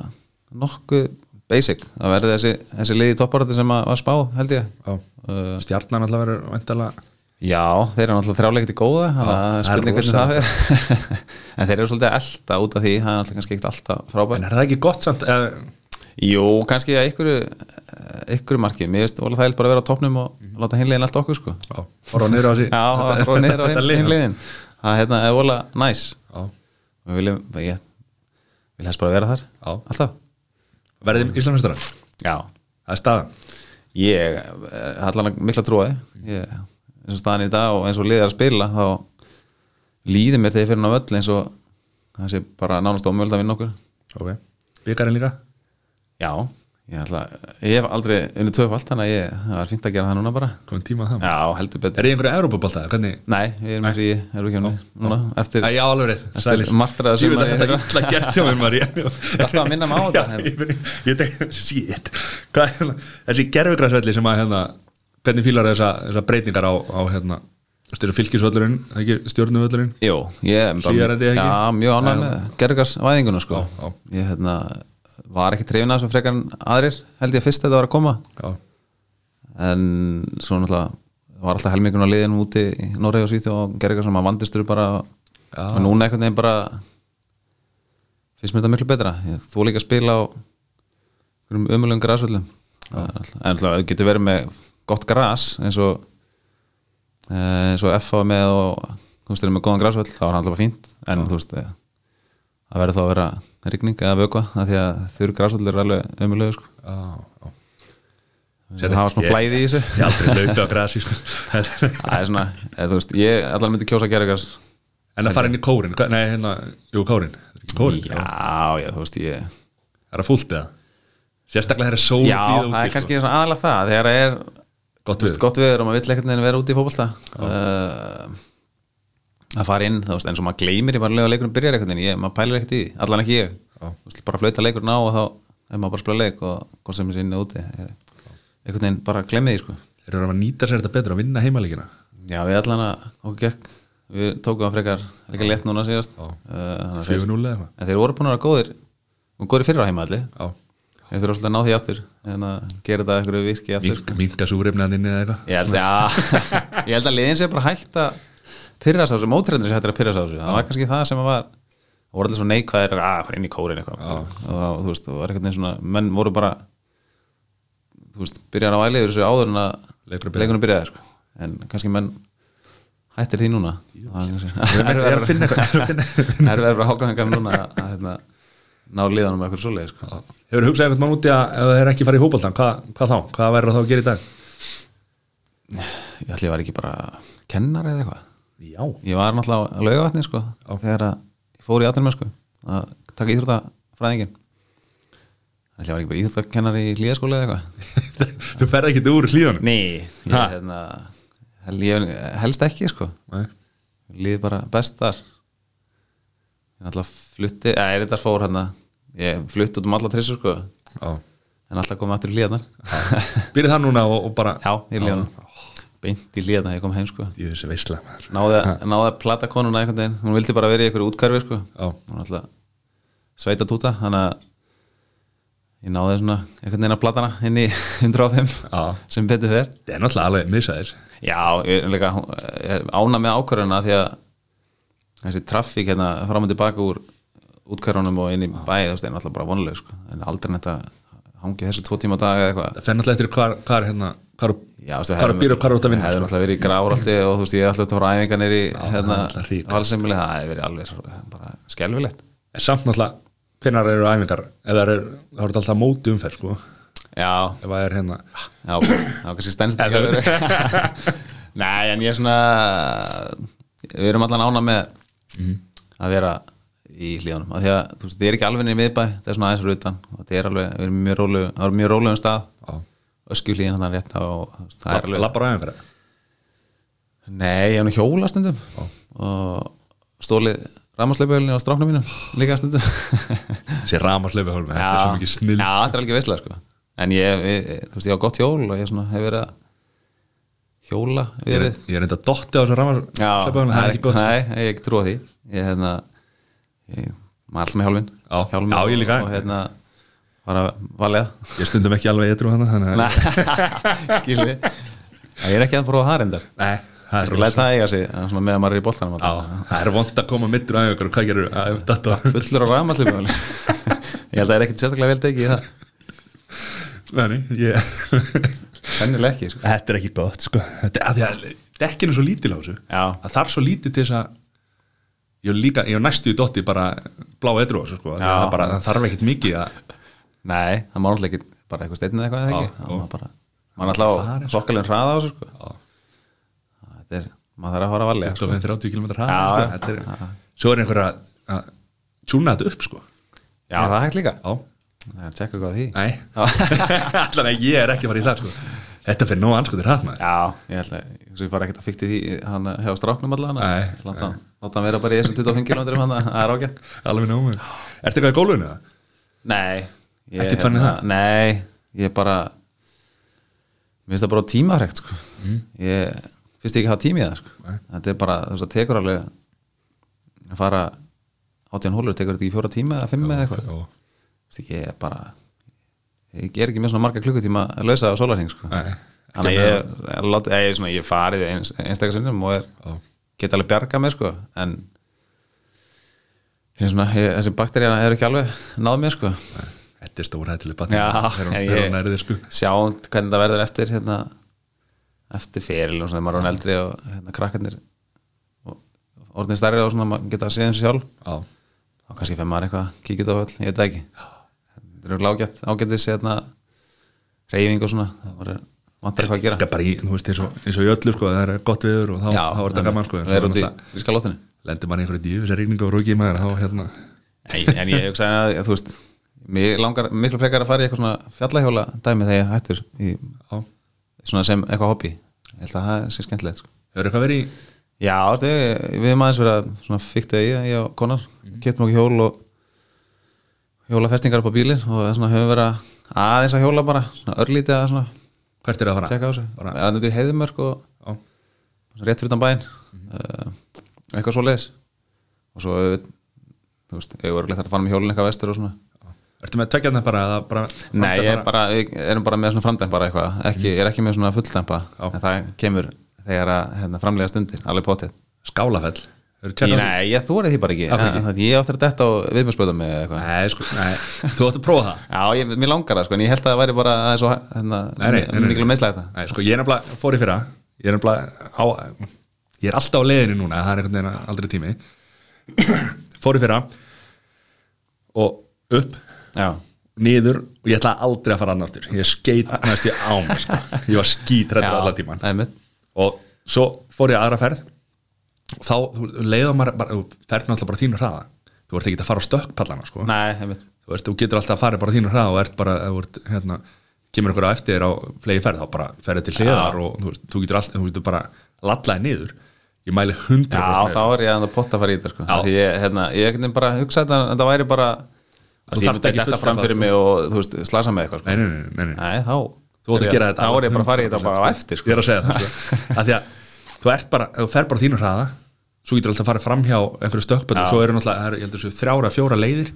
nokkuð basic, það verði þessi, þessi liði topparöndi sem að var spáð, held ég Já. eh, Stjarnan alltaf verður væntalega Já, þeir eru náttúrulega þrjáleikti góða þannig að það er það er spurning hvernig það er en þeir eru svolítið að elta út af því það er náttúrulega kannski ekkert alltaf frábært En er það ekki gott samt Eh, eða, Jú, kannski að ykkur ykkur marki, mér veist Óla Þægild bara að vera á topnum og láta hinlegin allt okkur sko Já, horfa niður á þessi Já, það fór niður á hinlegin Það hérna, er Óla næs Já. Við viljum, ég vil helst bara vera þar Já. Alltaf Verðið Íslandsmestara, Já, það er staðan ég eh, allan mikla trúaði ég, eins og staðan í dag og eins og liðið er að spila þá líði mér þegar ég fyrir ná öll eins og það sé bara nánast ómjöld að vinna okkur Ok, byggarinn líka Já, ég, ætla, ég hef aldrei unni tvöfald þannig að ég, það var fínt að gera það núna bara Komum tíma að það maður. Já, heldur betur Er ég einhverja Evrópabólta? Hvernig? Nei, við erum frí, erum við kemni Núna, eftir Æ, já, alveg rétt, Þetta sælir er martraðar Ég veit sumar að þetta er í þeirra. illa gert hjá mér María alltaf að minna mig á þetta, Já, hérna. Ég finn, ég tek, shit Hvað er hérna, þessi gerfugræsvelli sem að hérna Hvernig fílar þessa, þessa breytingar á, á hérna Styrir fylgisvöllurinn, ekki stjórnuvöllurinn Jú, ég er bara- Hlýjar þetta ekki? Já, mjög ánæg með gerðugars væðinguna sko Já, já. Ég hérna, var ekki trefin að þessu frekar en aðrir held ég fyrst að þetta var að koma Já, en svo náttúrulega var alltaf helmingun á liðinum úti í Noregi og Svíþjóð og gerðugars sem að vandistur bara Já. og núna einhvern veginn bara finnst mér þetta miklu betra ég, þú líka að spila á einhverjum umulum grasvöllum en alltaf þú getur verið með gott gras eins og eh, eins og F á með og þú veist, erum með góðan grasvöll, þá er hann alltaf bara fínt en þú veist, eh, það verður þá að vera rigning eða vökva, af því að þurr grasvöll er alveg umulegu sko. já, já það hafa svona Ég- flæði í þessu Ég aldrei laupi á grasi sko. það er svona, eða, þú veist, ég allan myndi kjósa að gera eitthvað En að fara inn í kórin, hvað- nei, hérna, jú, kórin Kórin, já, já, þú veist, ég Er það fúlt eða? Sérstaklega þegar sól já, býða úti, það er sko. kannski svona aðalega það þegar það er Gott þú veist, veður. gott viður og maður vill ekkert neginn vera úti í fótbolta uh, að fara inn, þú veist, eins og maður gleymir ég bara lega leikurinn byrjar eitthvað, ég, maður pælir ekkert í því, allan ekki ég, Já. þú veist, bara flauta leikurinn á og þá er maður bara að spila leik og hvort sem er sinni úti, ég- einhvern veginn bara glemmið því, sko Þeir eru að nýta sér þetta betur að vinna heimalíkina já, við allan að, okkur gekk við tókum að frekar, líka létt núna síðast Já. uh, þannig að þeir- 4-0 eða eitthvað en þeir voru búin að vera góðir og góðir fyrir á heima allir Já. þeir þurfa svolítið að ná því aftur en að gera þetta eitthvað virki aftur Minka, minka súrefnaðan inni eða eitthvað ég held, ja, ég held að liðin sé bara hægt að pyrrast á þessu, mótrendur sé hægt að pyrrast á þessu það var kannski það sem að var og voru allir svo neikvæðir og að "Ah, fara inn í kórin eitthvað og þá, þú veist, og var eitthvað svona menn voru bara þú veist, byrjar á æli yfir þessu áður en að Leikurinn byrjaði. leikunum byrjaði sko. en kannski menn hættir því núna Það er Ég er að finna eitthvað erfið er bara hákaðingar núna að, að, hérna, ná liðanum með eitthvað svoleið sko. Hefur hugsað einhvern mann úti að ef það er ekki farið í hópaldan, hvað, hvað þá? Hvað verður þá að gera í dag? ég ætli ég var ekki bara kennar eða eitthvað Já, ég var náttúrulega á laugavatni sko, þegar að ég fór í aðlum sko, að taka íþróttafræðingin ætli ég var ekki bara íþróttakennari í hlýðaskóla eða eitthvað þú ferð ekki úr hlíðan Nei ég, Ha? hérna, hel, ég, Helst ekki sko Líði bara best þar Ég náttúrulega flutti Það er þetta fór hérna Ég flutti út um alla trissu sko En alltaf komið aftur í líðanar Byrðið það núna og, og bara Já, í líðanar Beint í líðanar, ég kom heim sko Ég þessi veistla maður. Náði, náði að plata konuna einhvern veginn Hún vildi bara vera í einhverju útkörfi sko Já. Hún var alltaf sveita túta Þannig að ég náði svona einhvern veginn að plata hana inn í 105 Já. sem betur fer Það er náttúrulega alveg misaðir Já, ég er líka hún- ég er ána með ákvörðuna því að þessi traffík hérna fram og tilbaka úr útkvörðunum og inn í bæ þú veist, er náttúrulega bara vonuleg sko. en aldrei netta hangi þessu tvo tíma á dag eða eitthvað Það fer náttúrulega eftir hvað hvað er hérna Hvað er- Já, þú veist, hvað er að býra og hvað er út að vinna Það hefði sko. náttúrulega verið í gráraldi og þú veist, ég er alltaf að fara á æfingar nýri hérna, það er náttúrulega hrikalegt. valsimili, það hefði verið alveg svo- bara skelfilegt En Samt náttúrulega, hvenær eru æfingar Ef það eru, þá er þetta alltaf móti umferð sko. Já, Ef það er hérna Já, það var kannski stendst ekki að vera Nei, en ég er svona Við erum allan ána með Mhm. að vera í hlíðanum af því að þú veist, það er ekki alveg niður miðbæ það er svona aðeins fyrir utan og það er alveg, við erum í mjög rólu það er mjög rólu um stað öskjuhlíðin hann rétt á og, þú veist, það er alveg Lappar á æfingar Nei, ég hef nú hjóla stundum og stólið rafmarsleipauðlinni á stráknum mínum líka stundum Sér ramarsleifu hálfum, þetta er svo mikið snill Já, þetta er alveg veistlega sko en ég, ég, þú veist, ég á gott hjól og ég svona, hef verið að hjóla Ég við er- Ég er enda dotti á þessu Já, ramarsleifu Það er ekki gott sko. Nei, ég hef ekki trúa því Ég, hérna, ég maður alltaf með hjálmin Já, já, ég líka. Og hérna, bara valega Ég stundum ekki alveg eitthvað hana þannig að- Skilji Ég er ekki að prófa það reyndar Nei, það er Ég læt það eiga sig, að svona meðan maður er í boltanum Já, það er vond að koma mittur á æfingar og Hvað gerur þetta? Fullur á rafmallum Ég held að það er ekkit sérstaklega vel tekið í það Nei, ég Sennilega ekki, sko Þetta er ekki gott sko Þetta er að því að dekkin er svo lítil á þessu Já. Það þarf svo lítið til þess að Ég er líka, ég er næstu í dotti bara blá edru á þessu sko Því að Já. það, bara, það þarf ekkit mikið að Nei, það má náttúrulega ekki bara eitthvað steinnið eitthvað eða Já, ekki Það já. má bara, maður náttúrulega Farin. á hlokkalinn hraða á þessu, sko Þetta er, maður þarf að fara valega, sko 25-30 km Já, hraða sko. já. Þetta er- Svo er einhver að, að tjúna þetta upp sko Já, það er hægt líka Já, Það er að tjekka hvað á því nei Allan að ég er ekki að fara í það sko Þetta fyrir nóg anskotir hraðmaður Já, ég ætla Svo ég fara ekkert að fykti því hann hefur stráknum allan Nei, að láta hann- láta hann vera bara í þessum 25 km hann að það er ágætt Alveg nóg Ertu eitthvað í gólfinu það? Nei ég- Ekkert þannig hérna, það? Nei, ég bara Mér finnst það bara tímafrekt sko. Mm. Ég finnst ég ekki að hafa tími í það sko. Þetta er bara, þú veist það tekur alveg að fara 18 hólur tekur þetta ekki fjóra tíma eða fimm eða eitthvað Jó. Þú veist, Ég er bara Ég er ekki með svona marga klukkutíma að lausa á sólarhing sko. Nei. Þannig að ég, ég, lát, ég, er svona, ég farið eins, einstakar sinnum og er, Já. get alveg bjarga mig sko, en ég, er svona, ég, þessi bakteríana er ekki alveg náð mér sko. Þetta er stóra hættileg batni Já, en Þegar hún er þér sko sjáum hvernig það verður eftir hérna, eftir feril og svona, þegar maður er hún eldri og hérna, krakkarnir og orðin stærri og svona, maður geta að séð þessu sjálf Já þá kannski fyrir maður eitthvað, kíkja þetta á öll, ég veit það ekki þetta eru ágætt, ágættis hérna, reyfing og svona það maður er- vantar eitthvað að gera Líka bara í, þú veist, eins og, eins og í öllu sko, það er gott viður og þá, þá er þetta gaman sko, en það er svo út í náttúrulega ríska lótinu lendir maður í einhverju dýfu sem rigningu og rúki maður, þá hérna en, en ég hugsa að þú veist mig langar miklu frekar að fara í eitthvað svona fjallahjóla dæmi þegar ég er hættur í, Já. svona sem eitthvað hobby ég held að það sé skemmtilegt sko. Hefur eitthvað verið í já, þetta er, við erum aðeins verið að svona fykta í að ég og konar Mhm. mm -hmm. getum okkur hjól og hjólafestingar upp á bílinn og svona höfum verið að aðeins að hjóla bara, svona örlítið að svona hvert er það að fara? tjekka á þessu, Bara, er þetta í heiðumörk og já, rétt fyrir utan bæinn Mhm. uh, eitthvað svo leiðis og svo auðvitað, þú veist, ég var leitt að fara með hjólinn eitthvað vestur og svona já. Ertu með tveggjarnar bara, eða bara Nei, framdæma ég er bara, ég erum bara með svona framdæmpa bara eitthvað, ekki, ég er ekki með svona fulldæmpa Já. en það kemur þegar að hérna, framlega stundir, alveg potið Skálafell Hefur Ég- tjekkað það? Nei, ég þórið því bara ekki, Af hverju ekki? Þannig að ég áttur að detta og viðmjörsbröða mig eða eitthvað Nei, sko, nei Þú átt að prófa það Já, ég, mér langar það sko, en ég held að það væri bara aðeins og hérna, Nei, nei, nei, nei. miklu meðslega þetta Nei, sko, ég er nefnilega, fór í fyrra Ég er nefnilega á Ég er alltaf á leiðinni núna, það er einhvern veginn aldrei tími Fór í fyrra Og upp, já, niður og ég ætlaði aldrei að fara annað aftur ég skeitnast ég á mig sko. ég var skítrættur allan tíman einmitt. og svo fór ég aðra ferð og þá þú- þú leiða maður bara, þú ferð náttúrulega bara á þínu hraða þú ert ekki að fara á stökkpallana sko. Nei, einmitt. þú, veist, þú getur alltaf að fara bara á þínu hraða og ert bara, ef þú ert, hérna, kemur einhverja á eftir þér á flegi ferð, þá bara ferði til hliðar og þú, veist, þú, getur all, þú getur bara lallaði niður, ég mæli hundra Já, þá er ég að potta að fara í þetta sko. Því ég, hérna, ég einhvern veginn bara hugsa þetta en það væri bara þarft Þú þarf ekki ekki þetta fullstað fram það, fyrir sko. mig og þú veist, slasa með eitthvað sko. nei, nei, nei, nei, nei. Nei, þá þú átt að gera þetta Þá er ég bara að fara í 100%, þetta bara á eftir ég sko. er að segja það sko. að því að þú ert bara, ef þú fer bara á þínu hraða svo getur alltaf að fara fram hjá einhverju stökkböld og svo eru náttúrulega, það eru, ég heldur þessu þrjára, fjóra leiðir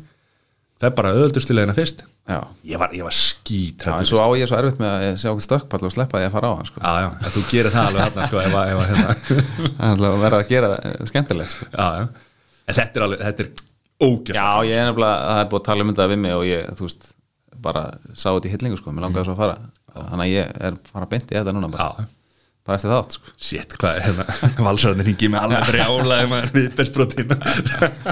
fer bara öðuldustu leiðina fyrst Já, ég var, ég var Já, en skítrættur svo á ég svo erfitt með að sjá okkur stökkpall og sleppa því að fara á hann sko. já, já, en þú gerir það alveg hérna sko, ef, að- ef, að, hérna. Það er alltaf að vera að gera það eh, skemmtilegt sko. já, já. en þetta er alveg, þetta er ógjast Já, ég er nefnilega, það er búið að tala um þetta við mig og ég, þú veist, bara sá þetta í hillingu sko, mér langaði svo að fara Þannig að ég er fara beint í þetta núna bara, já, bara eftir þátt sko. shit, hvað er hérna valsarðin hringi með alveg brjálaði maður við bestbrotina hérna.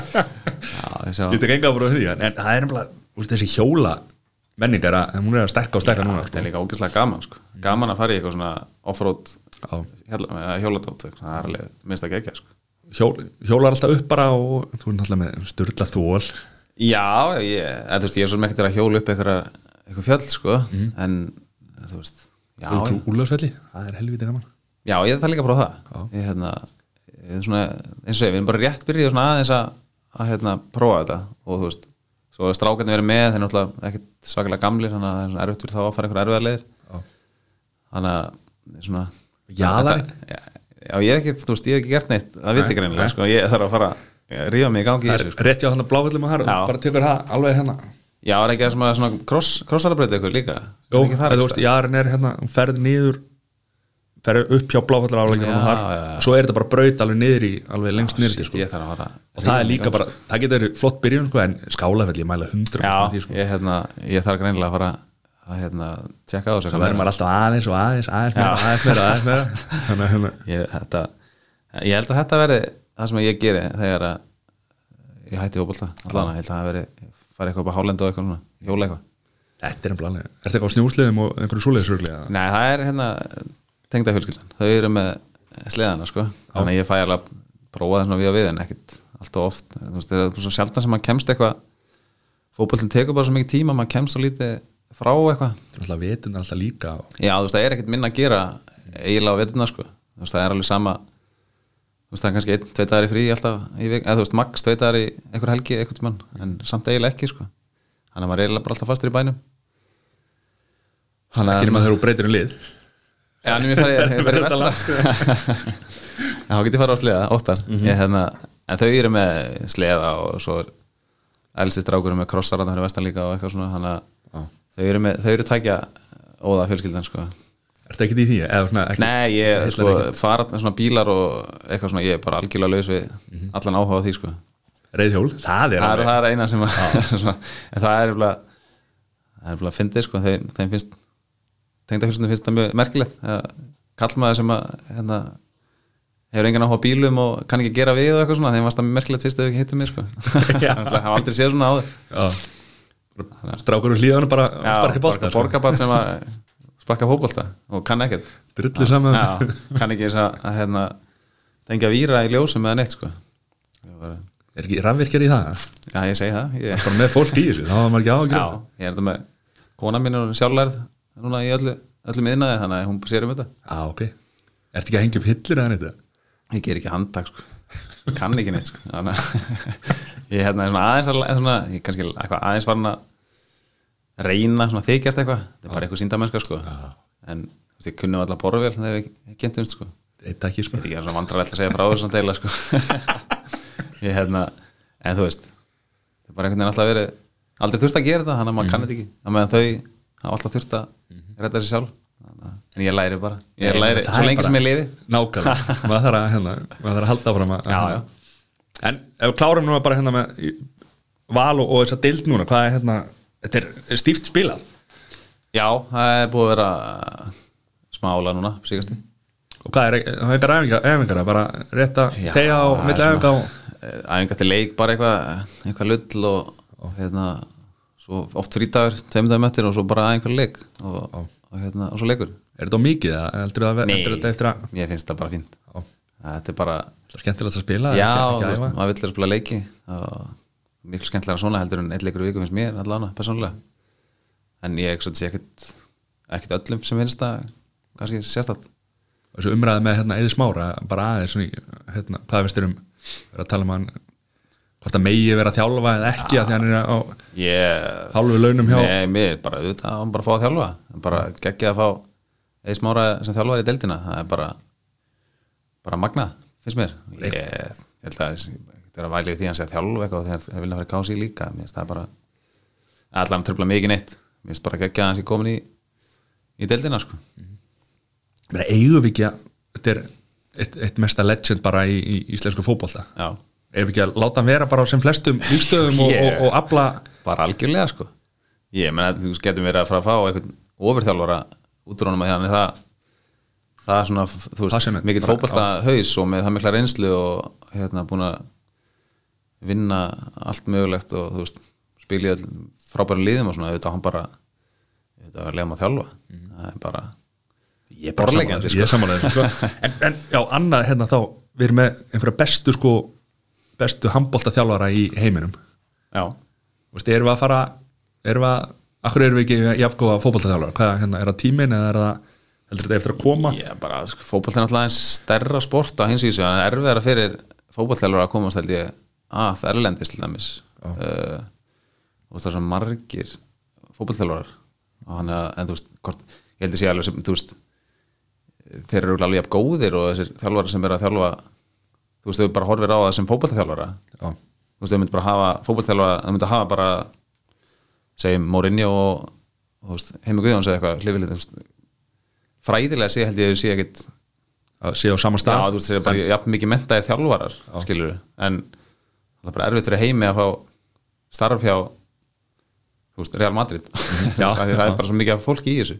Já, ég sjá ég tek enga ábúr á því en, en það er nefnilega, úr þessi hjóla menning er að, hún er að stekka og stekka núna Þetta sko. Mm. er líka ógeðslega gaman sko. Gaman að fara í eitthvað svona offroad Já. hjóladátt Það er alveg minnst að gegja sko. Hjól, hjólar alltaf upp bara og þú er náttúrulega með styrla þól Já, ég, eða, þú veist, ég er svo sem ekkert er að hjóla upp eitthvað, eitthvað fjöll sko. Mm. en þú veist já, já, úlöfsvelli, það er helviti gaman já, ég það er líka bara það ég, hérna, ég, er svona, eins og ég, við erum bara rétt byrjuð svona aðeins að, að hérna, prófa þetta og þú veist, svo að strákarnir verið með þeir eru náttúrulega ekkert svakalega gamlir þannig að það er svona erfitt fyrir þá að fara eitthvað erfiðar leiðir þannig að svona, Jaðarinn? Já, já, ég hef ekki, þú veist, ég hef ekki gert neitt að viti greinilega, sko, ég þarf að fara að rífa mig í gangi í það þessu, er rétt hjá hann að bláfellum að það Já. og bara tekur það alveg hérna Já, er ekki það sem að svona kross, krossarabreyti ykkur líka Jó, Er ekki eða þú einhvers veist, jarðin er hérna, hún ferð niður ferð upp hjá bláfellar aflækjum Já, og þar, já, já. svo er þetta bara braut alveg niður í, alveg lengst staðar? niður til Shit, sko. Ég þarf að fara og það er líka bara, það getur verið flott byrjun sko, en skálafelli, ég mæla hundra Já, því, sko. ég, hérna, ég þarf greinilega að fara að hérna, tjekka á þessu það verður maður alltaf aðeins og aðeins aðeins meira, Já. aðeins meira, aðeins meira þannig að hérna, ég, þetta, ég held að þetta verði það sem ég geri þegar að ég hætti fótbolta allan, ég held að það verði fara eitthvað upp á hálendu og eitthvað svona, hjóla eitthvað þetta er nefnilega alveg- er þetta eitthvað á snjúsliðum og einhverju svoleiðisruglega Nei, það er hérna tengda fjölskyldan, þau eru með sleðana sko, þannig að ég fæ alveg að prófa það svona við að við en ekkit alltaf oft, þú veist, það er svo sjaldan sem maður kemst eitthvað fótboltin tekur bara svo mikið tíma maður kemst svo lítið frá eitthvað alltaf vetun alltaf líka og, Já, þú veist, það er ekkit minna að gera eiginlega á veturna sko, þú veist, það er alveg sama þú veist, það er kannski einn, tvei dagar í frí alltaf, í vik, eða þú veist, max tvei dagar í einhver helgi, einhvern tímann, en samt eiginlega ekki sko, þannig að maður er eiginlega bara alltaf fastur í bænum Þannig ekki nema þegar þú breytir um lið Já, en ég fer ég fer í Verður þetta sko. vestra Já, þá get ég farið á sleða, óttar Mhm. ég, hérna, En þau eru með sleða og svo er elsti strákur með krossar hann fyrir vestan líka og eitthvað svona þannig að þau eru, með, þau eru tækja óða fjölskyldan sko. Ertu ekki í því? Eða, svona, ekki, Nei, ég heillar sko, fara svona bílar og eitthvað svona, ég er bara algjörlega laus við allan áhuga á því sko. Reiðhjól, það er það, er, alveg það er eina sem að, svona, en það er nefnilega- það er nefnilega að fyndið sko, þeim, þeim finnst tengdafjölsundum finnst það mjög merkilegt að kallmaður sem að hérna, hefur engan áhuga á bílum og kann ekki gera við og eitthvað svona, þeim varst það mjög merkilegt fyrst ef þau ekki hittu mér sko Já. það hafa aldrei séð svona áður Já. Strákur úr hlíðan bara sko. Já, sparka bólta bara borgarbarn sko. sem að sparka fótbolta og kann ekkert Drullu saman Já, kann ekki þess að, að hérna, tengja víra í ljósum eða neitt sko Ég bara, Er ekki rafvirkjar í það? Já, ég segi það ég, Bara með fólk í þessu, þá var maður ekki á að gera Já, ég er þetta með kona mín er sjálflærð núna í öllu, öllum yðnaði þannig að hún sér um þetta Já, ok Ertu ekki að hengja upp hillir eða þetta? ég ger ekki handtak sko. kann ekki neitt sko. þannig að ég hérna er svona aðeins að, svona, ég er kannski eitthvað aðeins farin að reyna svona þykjast eitthvað það er bara eitthvað síndamennska sko. en þú veist, ég kunni alltaf borðvél þegar við kynntumst sko. Eitt ekki, sko ég er svona vandralegt að segja frá þessum deila sko. ég hérna en þú veist, það er bara einhvern veginn alltaf verið aldrei þurft að gera það, þannig að maður kann þetta ekki þannig meðan þau hafa alltaf þurft að redda sér sjálf Þannig að- en ég læri bara, ég læri Mhm. Það svo er lengi bara- sem ég lifi Nákvæmlega, maður þarf að, hérna, maður þarf að halda áfram að, Já, að hérna. En ef við klárum núna bara hérna með í- val og, og þess að deild núna Hvað er hérna, þetta er, er stíft spilað já, það er búið að vera uh, smá ála núna, Mhm. síkast Og hvað er, það er einhver æfingar, æfingar bara rétt að tegja á milli æfingar og Eh, æfingar til leik, bara eitthvað eitthvað lull og hérna svo oft frítagur, tveimur dagum eftir og svo bara að einhver leik og, og, hérna, og svo leikur Er þetta á mikið? eða Heldur það að heldur þetta eftir að Mér finnst það bara fínt Já. Þetta er bara, það er skemmtilegt að spila? já, ekki, þú ekki veist, æfa? maður vill að spila leiki og miklu skemmtilega svona heldur en eitt leikur í viku finnst mér allan að persónulega en ég ekki sé ekkit ekkit öllum sem finnst það kannski sérstætt Þessu umræði með hérna Eði Smára, bara aðeins svona, í- hérna, hvað finnst þér um vera að tala um hann hvort að megi vera að þjálfa eða ekki að því hann er á yeah. hálfu launum um hjá Nei, mér er bara auðvitað hann bara að fá að þjálfa hann bara geggja að fá eða smára sem þjálfar í deildina það er bara bara magna, finnst mér ég ég held að það er að væli við því að hann sé að þjálfa eitthvað þegar þeir vilja fara að kási líka mér finnst það bara allan tröfla mikið neitt mér finnst bara geggja að hann sé komin í í deildina sko Meina, eigum við ekki að þetta er eitt, eitt mesta legend bara í, í íslensku fótbolta já, ef við ekki að láta hann vera bara á sem flestum líkstöðum og, Yeah. og, og afla bara algjörlega sko ég menna þú getum verið að fara að fá eitthvað ofurþjálfara út úr honum að hérna það það er svona, þú Það sem veist, er- mikill bara- fótbolta haus og með það mikla reynslu og hérna búin að vinna allt mögulegt og þú veist, spila í all frábæri liðum og svona, auðvitað hann bara auðvitað að lega maður þjálfa það er bara, ég er bara sammála ég þessu, er sko. samanlega sko. en, en já, annað hérna þá við erum með einhverja bestu sko bestu handbólta í heiminum já, Þú veist, erum við að fara erum við að, akkur erum við ekki jafnkóða fótbolta þjálfara, hvað hérna, er það tímin eða er það, heldur þetta eftir að koma ég er bara sko, fótbolta er náttúrulega eins stærra sport á hins vísu, en erfiðara fyrir fótboltaðalvara að komast held ég að erlendis til dæmis uh, og það er svo margir fótboltaðalvarar og hann að, en þú veist, hvort ég held ég sé alveg sem, þú veist þeir eru alveg jafn góðir og þessir þjálfara sem eru að þjálfa þú veist, þau bara horfir á það sem fótboltaþjálfara Já. þú veist, þau myndir bara hafa fótboltaþjálfara, þau myndir hafa bara segjum Mourinho og þú veist, Heimi Guðjóns eða eitthvað hlifilið, þú veist fræðilega sé held ég að þau sé ekkit að séu á sama já, stað þú veist, þeir eru bara jafn mikið mentaðir þjálfarar skilur en það er bara erfitt fyrir heimi að fá starf hjá þú veist, Real Madrid já, Mhm. það er bara svo mikið af fólki í þessu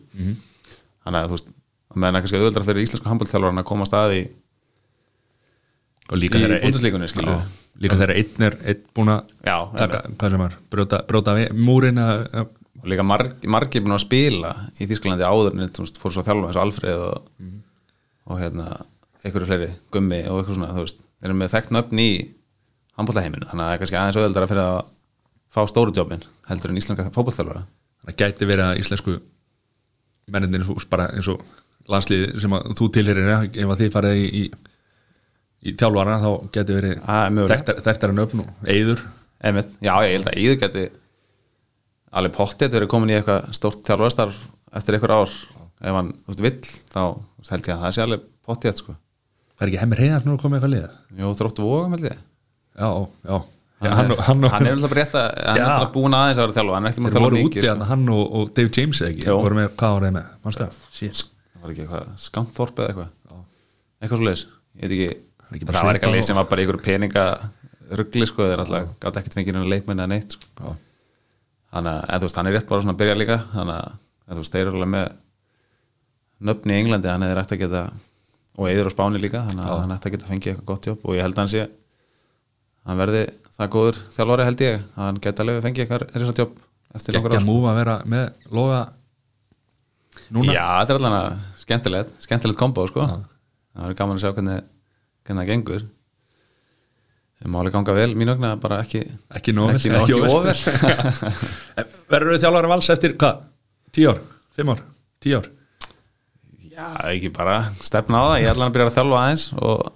þannig að þú veist, að meðan að kannski auðvöldra fyrir íslensku handbóltþjálfarinn að koma að staði og líka í þeirra Bundesligunni, skilur við. líka þeirra einn er einn búin að Já, taka, hvað sem er, brjóta, brjóta við- múrin að, að, og líka marg, margir búin að spila í Þísklandi áður en þú veist, fór svo að þjálfa eins og Alfreð og, og hérna, einhverju fleiri gummi og eitthvað svona, þú veist, þeir eru með þekkt nöfn í handbóllaheiminu, þannig að það er kannski aðeins auðveldara fyrir að fá stóru jobbin heldur en íslenska fótbollþjálfara þannig að gæti verið að íslensku mennindir bara eins og landslið sem að þú tilherir ef að þið farið í, í, í þjálfara þá gæti verið Ah, mögulega. þekktar, þekktar en öfn og eigður Einmitt. Já, ég held að Íður geti alveg pottið verið komin í eitthvað stórt þjálfarstarf eftir einhver ár ef hann, þú veist, vill, þá þú veist, held ég að það sé alveg pottið, sko það er ekki hemmir heiðar nú að koma eitthvað liða Jó, þróttu vóðum, held ég já, já, já hann, hann, er- og- hann, og- hann er alltaf rétt að hann Já. er alltaf búin aðeins að vera þjálfa hann er ekki maður þeir að voru þjálfa úti mikið sko. hann, hann og, og Dave James eða ekki Jó. voru með, hvað voru þeir með, mannstu það það var ekki eitthvað skamþorp eða eitthvað eitthvað svo leiðis ég veit er ekki ekki það bara var svipað eitthvað leið og- sem var bara í einhverju peninga ruggli sko þeir alltaf gátt ekkert fengið hennar leikmenn eða neitt sko. Já. þannig að en þú veist hann er rétt bara svona að byrja líka þannig að en þú veist þeir eru alveg með nöfni í Englandi hann hefði rætt að geta og eður á Spáni líka þannig að hann ætti að geta fengið eitthvað gott jobb og ég held að hann sé hann verði það góður þjálfari held ég að hann geta alveg fengið eitthvað risa jobb eftir einhver ekki ár að múfa að vera með loga núna Já, þetta er allan að skemmtilegt, skemmtilegt kombo sko. það verður gaman að sjá hvernig, hvernig það gengur það má alveg ganga vel mín ögna bara ekki ekki nóg ekki, ekki, ekki ofur verður við þjálfara vals eftir hvað, 10 ár, 5 ár 10 ár, Já, ekki bara stefna á það, ég er allan að byrja að þjálfa aðeins og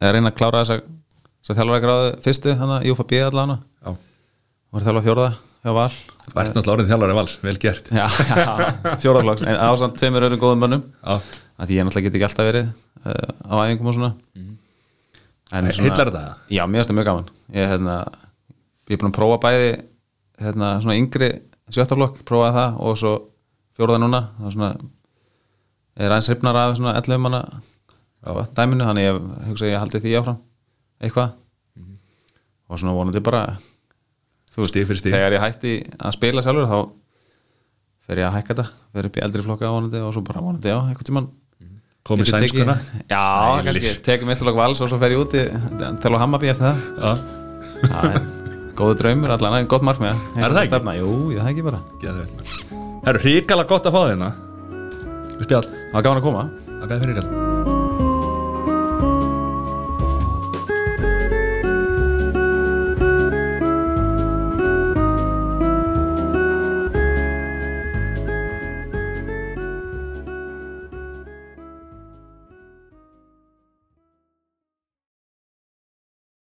eða reyna að klára þess að þess að þjálfa gráðu fyrstu, hann að Júfa B allan og já, er að þjálfa fjórða hjá Val vært náttúrulega orðin þjálfara vals vel gert, Já, fjórðaflokks, en ásamt tveimur öðrum góðum mönnum já, að því ég náttúrulega get ekki alltaf verið uh, á æfingum og svona En Mhm. heillar þetta Já, mér finnst það mjög gaman Ég, hérna, ég er búin að prófa bæði hérna, svona yngri sjöttaflokk prófaði það og svo fjórða núna það er svona er aðeins hrifnar af svona 11 manna dæminu, þannig ég hugsa að ég haldi því áfram eitthvað Mhm. og svona vonandi bara þú Stig fyrir stig. þegar ég hætti að spila sjálfur þá fer ég að hækka þetta fer upp í eldri flokka vonandi og svo bara vonandi já, einhvern tímann komið Getur tekið- sænskuna Já, Sælir. kannski, tekum meistalokk vals og svo fer ég úti til á Hammarby eftir það Já. Það er góðu draumur allan, en gott markmið Er það ekki? Stefna. Jú, ég, það er ekki bara Geðveikt, hérna. maður. Það eru hrikalega gott að fá þérna Við spjall Það var gaman að koma Það beði fyrir ykkur